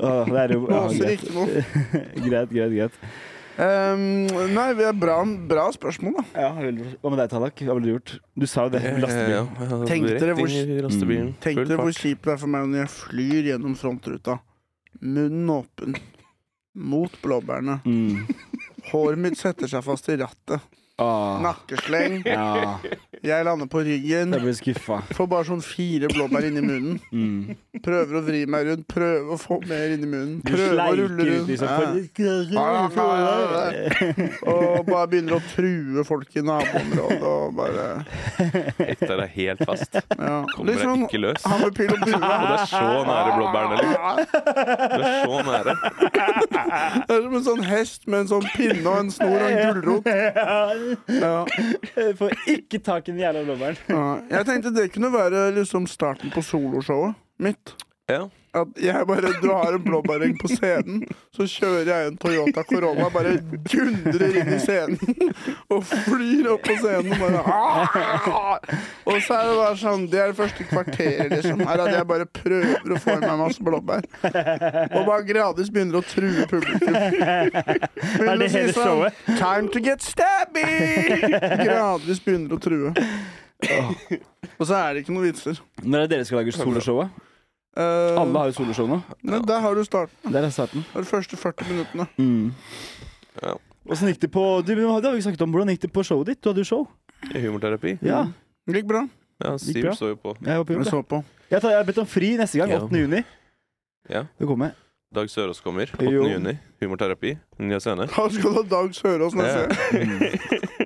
Speaker 2: Åh, det er jo ja,
Speaker 3: Låser
Speaker 2: greit.
Speaker 3: ikke noe.
Speaker 2: greit, greit, greit.
Speaker 3: Ehm, nei, det er bra, bra spørsmål, da.
Speaker 2: Ja, veldig bra. Hva med deg, Tallak? Hva ville du gjort? Du sa jo det. Lastebil.
Speaker 1: Ja, ja, ja.
Speaker 3: Tenk dere
Speaker 1: Rett
Speaker 3: hvor- Mm.
Speaker 1: inn i lastebilen.
Speaker 3: Tenk
Speaker 1: Full
Speaker 3: dere hvor
Speaker 1: fart.
Speaker 3: kjipt det er for meg når jeg flyr gjennom frontruta. Munnen åpen. Mot blåbærene.
Speaker 2: Mm.
Speaker 3: Håret mitt setter seg fast i rattet.
Speaker 2: Åh.
Speaker 3: Nakkesleng.
Speaker 2: Ah, Ja,
Speaker 3: Jeg lander på ryggen.
Speaker 2: jeg ble skuffa.
Speaker 3: Får bare sånn fire blåbær inni munnen.
Speaker 2: Mm.
Speaker 3: Prøver å vri meg rundt, prøver å få mer inni munnen.
Speaker 2: Du
Speaker 3: Prøver å
Speaker 2: sleiker
Speaker 3: rulle
Speaker 2: ut
Speaker 3: rundt.
Speaker 2: liksom.
Speaker 3: Ja.
Speaker 2: For...
Speaker 3: Og bare begynner å true folk i naboområdet og bare
Speaker 1: Hekta deg helt fast.
Speaker 3: ja.
Speaker 1: Kommer
Speaker 3: Litt
Speaker 1: deg
Speaker 3: sånn
Speaker 1: ikke løs.
Speaker 3: han med pil og bue.
Speaker 1: Og det er så nære blåbærene. Liksom. Du er så nære.
Speaker 3: Det er som en sånn hest med en sånn pinne og en snor og en gulrot. Ja.
Speaker 2: Får ikke tak i den jævla blåbæren.
Speaker 3: Ja. Jeg tenkte det kunne være liksom starten på soloshowet mitt.
Speaker 1: Ja.
Speaker 3: At jeg bare drar en blåbæreng på scenen, så kjører jeg en Toyota Corolla, bare dundrer inn i scenen og flyr opp på scenen og bare «Ah!» Og så er det bare sånn Det er det første kvarteret, liksom. Her at jeg bare prøver å få i meg masse blåbær. Og bare gradvis begynner å true publikum. Begynner
Speaker 2: Er det
Speaker 3: å si
Speaker 2: hele
Speaker 3: sånn,
Speaker 2: showet?
Speaker 3: Time to get stabby! Gradvis begynner å true. Og så er det ikke noen vitser.
Speaker 2: Når er det dere skal lage soloshowet?
Speaker 3: Eh,
Speaker 2: Alle har jo soloshow nå.
Speaker 3: men der har du starten.
Speaker 2: Der er starten.
Speaker 3: Det er de første 40 minuttene.
Speaker 2: Mm.
Speaker 1: Ja.
Speaker 2: Åssen gikk det på du, Det har vi ikke snakket om. Hvordan gikk det på showet ditt? Du hadde jo show.
Speaker 1: Humorterapi.
Speaker 2: Ja,
Speaker 3: Det gikk bra.
Speaker 1: Ja,
Speaker 2: Gikk bra.
Speaker 1: Siv så jo på.
Speaker 2: Jeg håper jo
Speaker 3: Jeg
Speaker 2: det.
Speaker 3: så på.
Speaker 2: Jeg tar- jeg har bedt om fri neste gang.
Speaker 1: Ja.
Speaker 2: 8. juni.
Speaker 1: Ja.
Speaker 2: Det kommer.
Speaker 1: Dag Sørås kommer. 8.
Speaker 2: Jo.
Speaker 1: juni. Humorterapi. Ny scene.
Speaker 3: Da skal du ha Dag Sørås neste gang.
Speaker 1: Ja.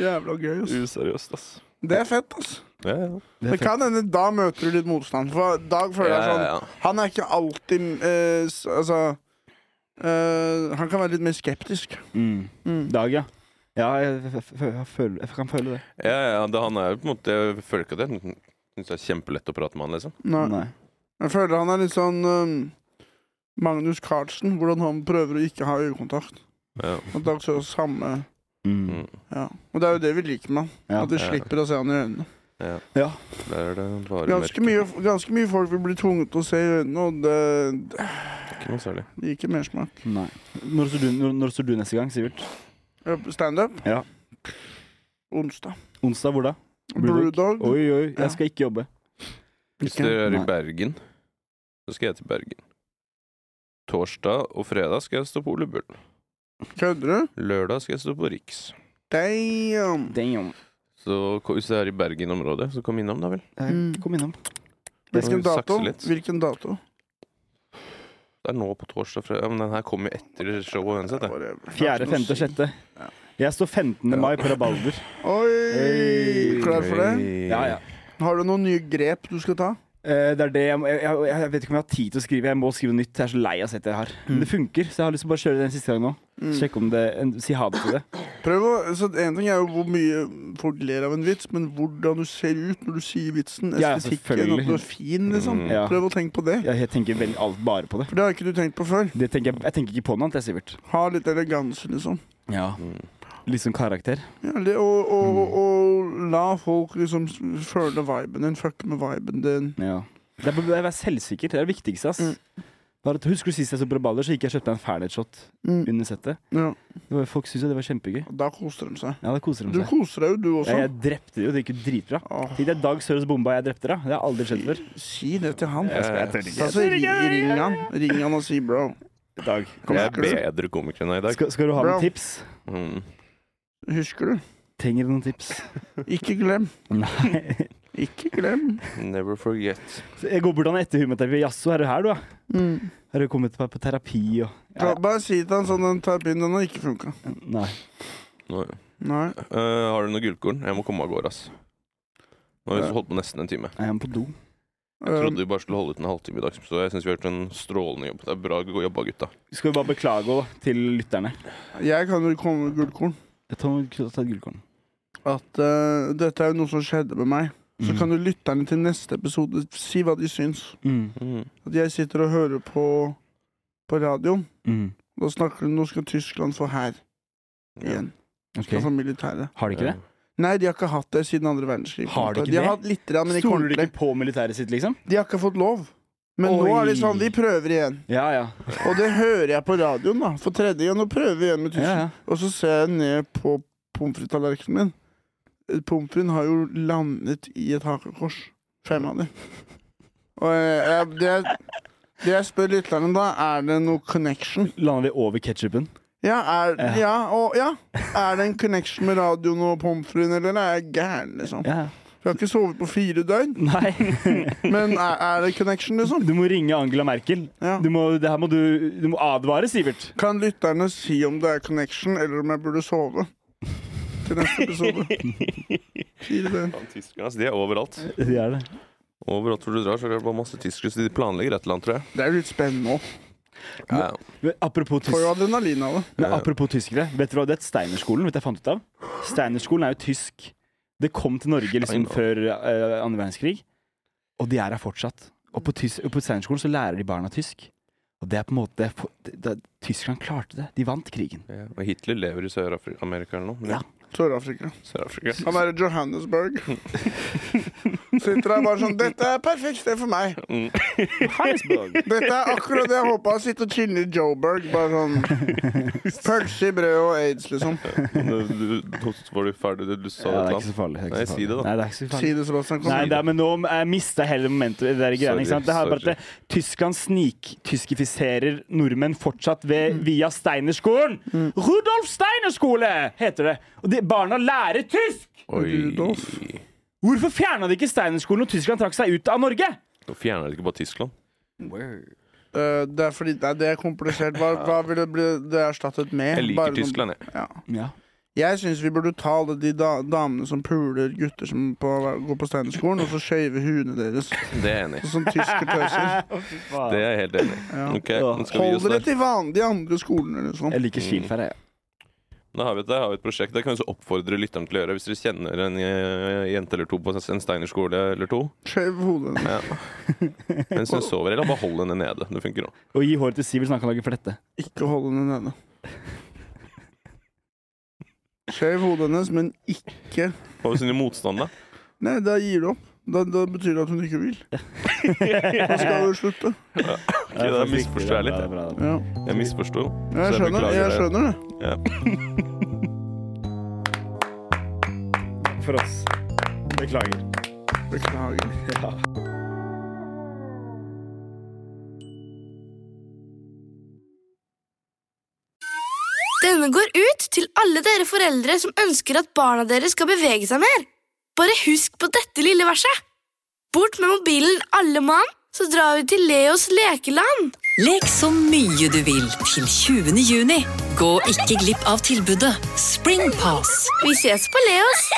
Speaker 3: Jævla gøy, ass.
Speaker 1: Useriøst, ass.
Speaker 3: Det er fett, ass.
Speaker 1: Ja, ja.
Speaker 2: Det
Speaker 3: Det
Speaker 2: er fett.
Speaker 3: kan hende da møter du litt motstand. For Dag føler jeg
Speaker 1: Ja,
Speaker 3: sånn
Speaker 1: ja,
Speaker 3: Han er ikke alltid eh, s- Altså eh, Han kan være litt mer skeptisk.
Speaker 2: Mm.
Speaker 3: Mm.
Speaker 2: Dag, ja. Ja, jeg, f- f- jeg, føler, jeg kan føle det.
Speaker 1: ja, ja, ja det, han er jo på en måte Jeg føler ikke at jeg syns det er kjempelett å prate med han, liksom.
Speaker 3: Nei.
Speaker 2: Nei.
Speaker 3: Jeg føler han er litt sånn eh, Magnus Carlsen, hvordan han prøver å ikke ha øyekontakt.
Speaker 1: Ja.
Speaker 3: At Dag Sørås samme
Speaker 2: Mm.
Speaker 1: Mm.
Speaker 3: Ja. Og det er jo det vi liker med han.
Speaker 2: Ja.
Speaker 3: At vi
Speaker 1: Ja.
Speaker 3: slipper å se han i øynene.
Speaker 1: Ja.
Speaker 2: Ja.
Speaker 1: Der er det bare
Speaker 3: Ganske mye, ganske mye folk vil bli tvunget til å se i øynene, og det,
Speaker 1: Ikke noe særlig.
Speaker 3: det gir ikke mersmak.
Speaker 2: Nei. Når står, du, når, når står du neste gang, Sivert?
Speaker 3: Eh, Standup?
Speaker 2: Ja.
Speaker 3: Onsdag.
Speaker 2: Onsdag, hvor da? Brewdog.
Speaker 3: Brewdog.
Speaker 2: Oi, oi,
Speaker 3: Ja.
Speaker 2: jeg skal ikke jobbe.
Speaker 1: Hvis dere er i
Speaker 2: Nei.
Speaker 1: Bergen, så skal jeg til Bergen. Torsdag og fredag skal jeg stå på Ole Bull.
Speaker 3: Kødder du?
Speaker 1: Lørdag skal jeg stå på Riks.
Speaker 3: Damn!
Speaker 2: Damn.
Speaker 1: Så ko- hvis det er i Bergen-området, så kom innom, da vel.
Speaker 2: Eh,
Speaker 3: Mm.
Speaker 2: Kom innom.
Speaker 3: Hvilken
Speaker 1: Sakse
Speaker 3: dato?
Speaker 1: litt.
Speaker 3: Hvilken dato?
Speaker 1: Det er nå på torsdag fredag. Ja, men den her kommer jo etter showet uansett. da.
Speaker 3: Whatever.
Speaker 2: 4., 5. og 6.
Speaker 3: Ja.
Speaker 2: Jeg står 15. mai på Rabalder.
Speaker 3: Oi!
Speaker 2: Hey.
Speaker 3: Klar for det?
Speaker 2: Ja, ja.
Speaker 3: Har du noen nye grep du skal ta?
Speaker 2: Eh, Det er det jeg, må- jeg, jeg, jeg vet ikke om jeg har tid til å skrive. Jeg må skrive noe nytt. Jeg er så lei av å sette det jeg har. Men det funker, så jeg har lyst til å bare kjøre det en siste gang nå. Sjekke om det en, Si ha det til det.
Speaker 3: Prøv å, så En ting er jo hvor mye folk ler av en vits, men hvordan du ser ut når du sier vitsen.
Speaker 2: Ja, ja,
Speaker 3: Estetikken.
Speaker 2: selvfølgelig.
Speaker 3: At du er fin, liksom.
Speaker 1: Mm.
Speaker 2: Ja.
Speaker 3: Prøv å tenke på det.
Speaker 2: Jeg, jeg tenker vel alt bare på det.
Speaker 3: For det har ikke du tenkt på før.
Speaker 2: det tenker jeg, jeg tenker ikke på noe annet, jeg, Sivert.
Speaker 3: Ha litt eleganse, liksom.
Speaker 2: Ja.
Speaker 1: Mm.
Speaker 2: Litt sånn karakter.
Speaker 3: Ja, det, og, og, og, og la folk liksom s- føle viben din, fucke med viben din.
Speaker 2: Ja. Mm. Det er bare å være selvsikker. Det er det viktigste, ass. Bare, husker du sist jeg så på Rabalder, så gikk jeg og kjøpte meg en Fernet-shot
Speaker 3: Mm.
Speaker 2: under settet.
Speaker 3: Ja,
Speaker 2: Det var, folk syntes jo det var kjempegøy.
Speaker 3: og da koser de seg.
Speaker 2: Ja, da koser
Speaker 3: Du
Speaker 2: de seg.
Speaker 3: koser deg jo, du
Speaker 2: Ja,
Speaker 3: også.
Speaker 2: jeg drepte det jo, det gikk jo dritbra.
Speaker 3: Åh,
Speaker 2: Tenk deg Dag Søres bomba jeg drepte, da. Det har aldri skjedd før.
Speaker 3: si det til han.
Speaker 1: Jeg,
Speaker 2: jeg tør
Speaker 1: jeg,
Speaker 2: ikke.
Speaker 3: Altså, ri- ring han Ring han og si bro.
Speaker 2: Dag.
Speaker 1: er bedre komiker enn jeg i dag.
Speaker 2: Skal, skal du ha
Speaker 3: Bro.
Speaker 2: noen tips?
Speaker 1: Mm.
Speaker 3: liksom." Husker du?
Speaker 2: Trenger du noen tips?
Speaker 3: Ikke glem.
Speaker 2: Nei.
Speaker 3: Ikke glem.
Speaker 1: Never forget.
Speaker 2: Så jeg går bort an etter humorterapi. Jaså, er du her, du, da?
Speaker 3: Mm.
Speaker 2: Har du kommet på, på terapi og
Speaker 3: Ja,
Speaker 2: ja,
Speaker 3: Bare si til han sånn den terapien den har ikke funka.
Speaker 2: Nei.
Speaker 1: Nå,
Speaker 3: Nei.
Speaker 1: Eh, har du noe gullkorn? Jeg må komme av gårde, ass. Nå har vi holdt på nesten en time.
Speaker 2: Jeg er på do.
Speaker 1: Jeg
Speaker 3: Um,
Speaker 1: trodde vi bare skulle holde ut en halvtime i dag, så jeg syns vi har gjort en strålende jobb. Det er bra jobba, gutta.
Speaker 2: Skal vi bare beklage også til lytterne?
Speaker 3: Jeg kan vel komme med gullkorn.
Speaker 2: Jeg tar, tar et gullkorn.
Speaker 3: At eh, dette er jo noe som skjedde med meg. Så kan jo lytterne til neste episode si hva de syns.
Speaker 2: Mm.
Speaker 3: At jeg sitter og hører på, på radioen.
Speaker 2: Mm.
Speaker 3: Da snakker de nå skal Tyskland få hær igjen.
Speaker 2: Ok.
Speaker 3: Skal få militæret.
Speaker 2: Sånn. Har de ikke det?
Speaker 3: Nei, de har ikke hatt det siden andre verdenskrig.
Speaker 2: Har de ikke
Speaker 3: de har
Speaker 2: det?
Speaker 3: hatt litt, grann, men ikke
Speaker 2: Stoler du
Speaker 3: ordentlig.
Speaker 2: ikke på militæret sitt, liksom?
Speaker 3: De har ikke fått lov. Men nå
Speaker 2: Oi.
Speaker 3: er det sånn, vi prøver igjen.
Speaker 2: Ja, ja.
Speaker 3: Og det hører jeg på radioen, da. For tredje gang. Nå prøver vi igjen med
Speaker 2: ja,
Speaker 3: Tyskland.
Speaker 2: ja.
Speaker 3: Og så ser jeg ned på pommes frites-tallerkenen min. Eh, Pommes fritesen har jo landet i et hakekors. Fem av dem. Og eh, jeg, det, jeg- det jeg spør lytterne, da, er det noe connection?
Speaker 2: Lander de over ketsjupen?
Speaker 3: Ja, er,
Speaker 2: Ja.
Speaker 3: ja, og, ja. er det en connection med radioen og pommes fritesen, eller er jeg gæren, liksom?
Speaker 2: Ja. ja.
Speaker 3: Jeg har ikke sovet på fire døgn,
Speaker 2: Nei.
Speaker 3: men er, er det connection, liksom?
Speaker 2: Du må ringe Angela Merkel.
Speaker 3: Ja.
Speaker 2: Du må, det her må du, du må advare, Sivert.
Speaker 3: Kan lytterne si om det er connection, eller om jeg burde sove? Til neste episode. Fire døgn.
Speaker 1: Faen, Tyskerne, altså, de er overalt.
Speaker 2: Det er det.
Speaker 1: Overalt hvor du drar, så er det bare masse tyskere. Så de planlegger et eller annet, tror jeg.
Speaker 3: Det er jo litt spennende òg.
Speaker 1: Ja, ja.
Speaker 2: Men apropos, tys
Speaker 3: Får jo adrenalin av det.
Speaker 2: men apropos tyskere. Vet dere hva det het? Steinerskolen? Vet du hva jeg fant ut av? Steinerskolen er jo tysk. Det kom til Norge liksom
Speaker 1: Steiner.
Speaker 2: før eh, andre verdenskrig, og de er her fortsatt. Og på, tys og på Steinerskolen så lærer de barna tysk. Og det er på en måte for- det, det, Tyskland klarte det. De vant krigen.
Speaker 1: Ja. Og Hitler lever i Sør-Amerika eller noe.
Speaker 2: Ja.
Speaker 3: Sør-Afrika.
Speaker 1: Sør-Afrika.
Speaker 3: Han er i Johannesburg. Sitter der bare sånn Dette er perfekt sted for meg.
Speaker 1: Mm.
Speaker 3: Dette er akkurat det jeg håpa. Sitte og chille i Joburg. Bare sånn Pølse i brød og aids, liksom.
Speaker 1: eh, Du, du, var du ferdig? Du, du sa
Speaker 2: Ja, det
Speaker 1: det
Speaker 2: er ikke
Speaker 1: til
Speaker 2: så farlig. det er ikke
Speaker 1: Nei,
Speaker 2: så
Speaker 1: si det da.
Speaker 2: farlig. Nei, det er ikke så farlig.
Speaker 3: Si det, Sebastian. Kom
Speaker 2: Nei,
Speaker 3: igjen.
Speaker 2: det er, men nå jeg mistet hele momentet i det der greiene.
Speaker 1: Sorry,
Speaker 2: ikke sant? Det er bare at
Speaker 1: sorry.
Speaker 2: det, Tyskland sniktyskifiserer nordmenn fortsatt ved, via Steinerskolen. Rudolf Steiner-skole heter det. Og de, barna lærer tysk!
Speaker 1: Rudolf.
Speaker 3: Rudolf.
Speaker 2: Hvorfor fjerna de ikke Steinerskolen når Tyskland trakk seg ut av Norge?
Speaker 1: Nå fjerner de ikke bare Tyskland.
Speaker 3: Eh, det er fordi Nei, det er komplisert. Hva, hva vil det bli det erstattet med?
Speaker 1: Jeg
Speaker 3: Bare
Speaker 1: liker
Speaker 3: sånn- noen-
Speaker 1: Tyskland, jeg.
Speaker 3: Ja.
Speaker 2: Ja.
Speaker 3: Jeg syns vi burde ta alle de da damene som puler gutter som på, går på Steinerskolen, og så skøyve huene deres.
Speaker 1: Det er jeg enig i.
Speaker 3: Sånn tyske pøser.
Speaker 1: Det er jeg helt enig i.
Speaker 3: Ja.
Speaker 1: Ok, nå skal vi gi
Speaker 3: Hold
Speaker 1: oss
Speaker 3: dere
Speaker 1: der.
Speaker 3: til vanlig de andre skolene, liksom.
Speaker 2: Jeg liker Skilfær, jeg.
Speaker 1: Da har vi, et- der har vi et prosjekt. Det kan vi så oppfordre lytterne til å gjøre. Hvis dere kjenner en eh, jente eller to på en Steiner-skole eller to,
Speaker 3: Skjøv hodet hennes.
Speaker 1: mens hun sover, eller bare hold henne nede. Det funker òg.
Speaker 2: Og gi håret til Sivert, så han kan lage flette.
Speaker 3: Ikke hold henne nede. Skjøv hodet hennes, men ikke
Speaker 1: Hva hvis hun er motstander?
Speaker 3: Nei, da gir du opp. Da, da betyr det at hun ikke vil. Da skal du slutte.
Speaker 1: Ok, da misforstår jeg litt.
Speaker 2: Bra, bra, bra.
Speaker 3: Ja.
Speaker 1: jeg. Jeg misforsto.
Speaker 3: Jeg
Speaker 1: Så jeg
Speaker 3: skjønner,
Speaker 1: beklager
Speaker 3: jeg
Speaker 1: det.
Speaker 3: skjønner det.
Speaker 2: For oss. Beklager.
Speaker 3: Beklager.
Speaker 4: Denne går ut til alle dere foreldre som ønsker at barna deres skal bevege seg mer. Bare husk på dette lille verset. Bort med mobilen alle mann, så drar vi til Leos lekeland.
Speaker 5: Lek så mye du vil til 20. juni. Gå ikke glipp av tilbudet Springpass.
Speaker 4: Vi ses på Leos.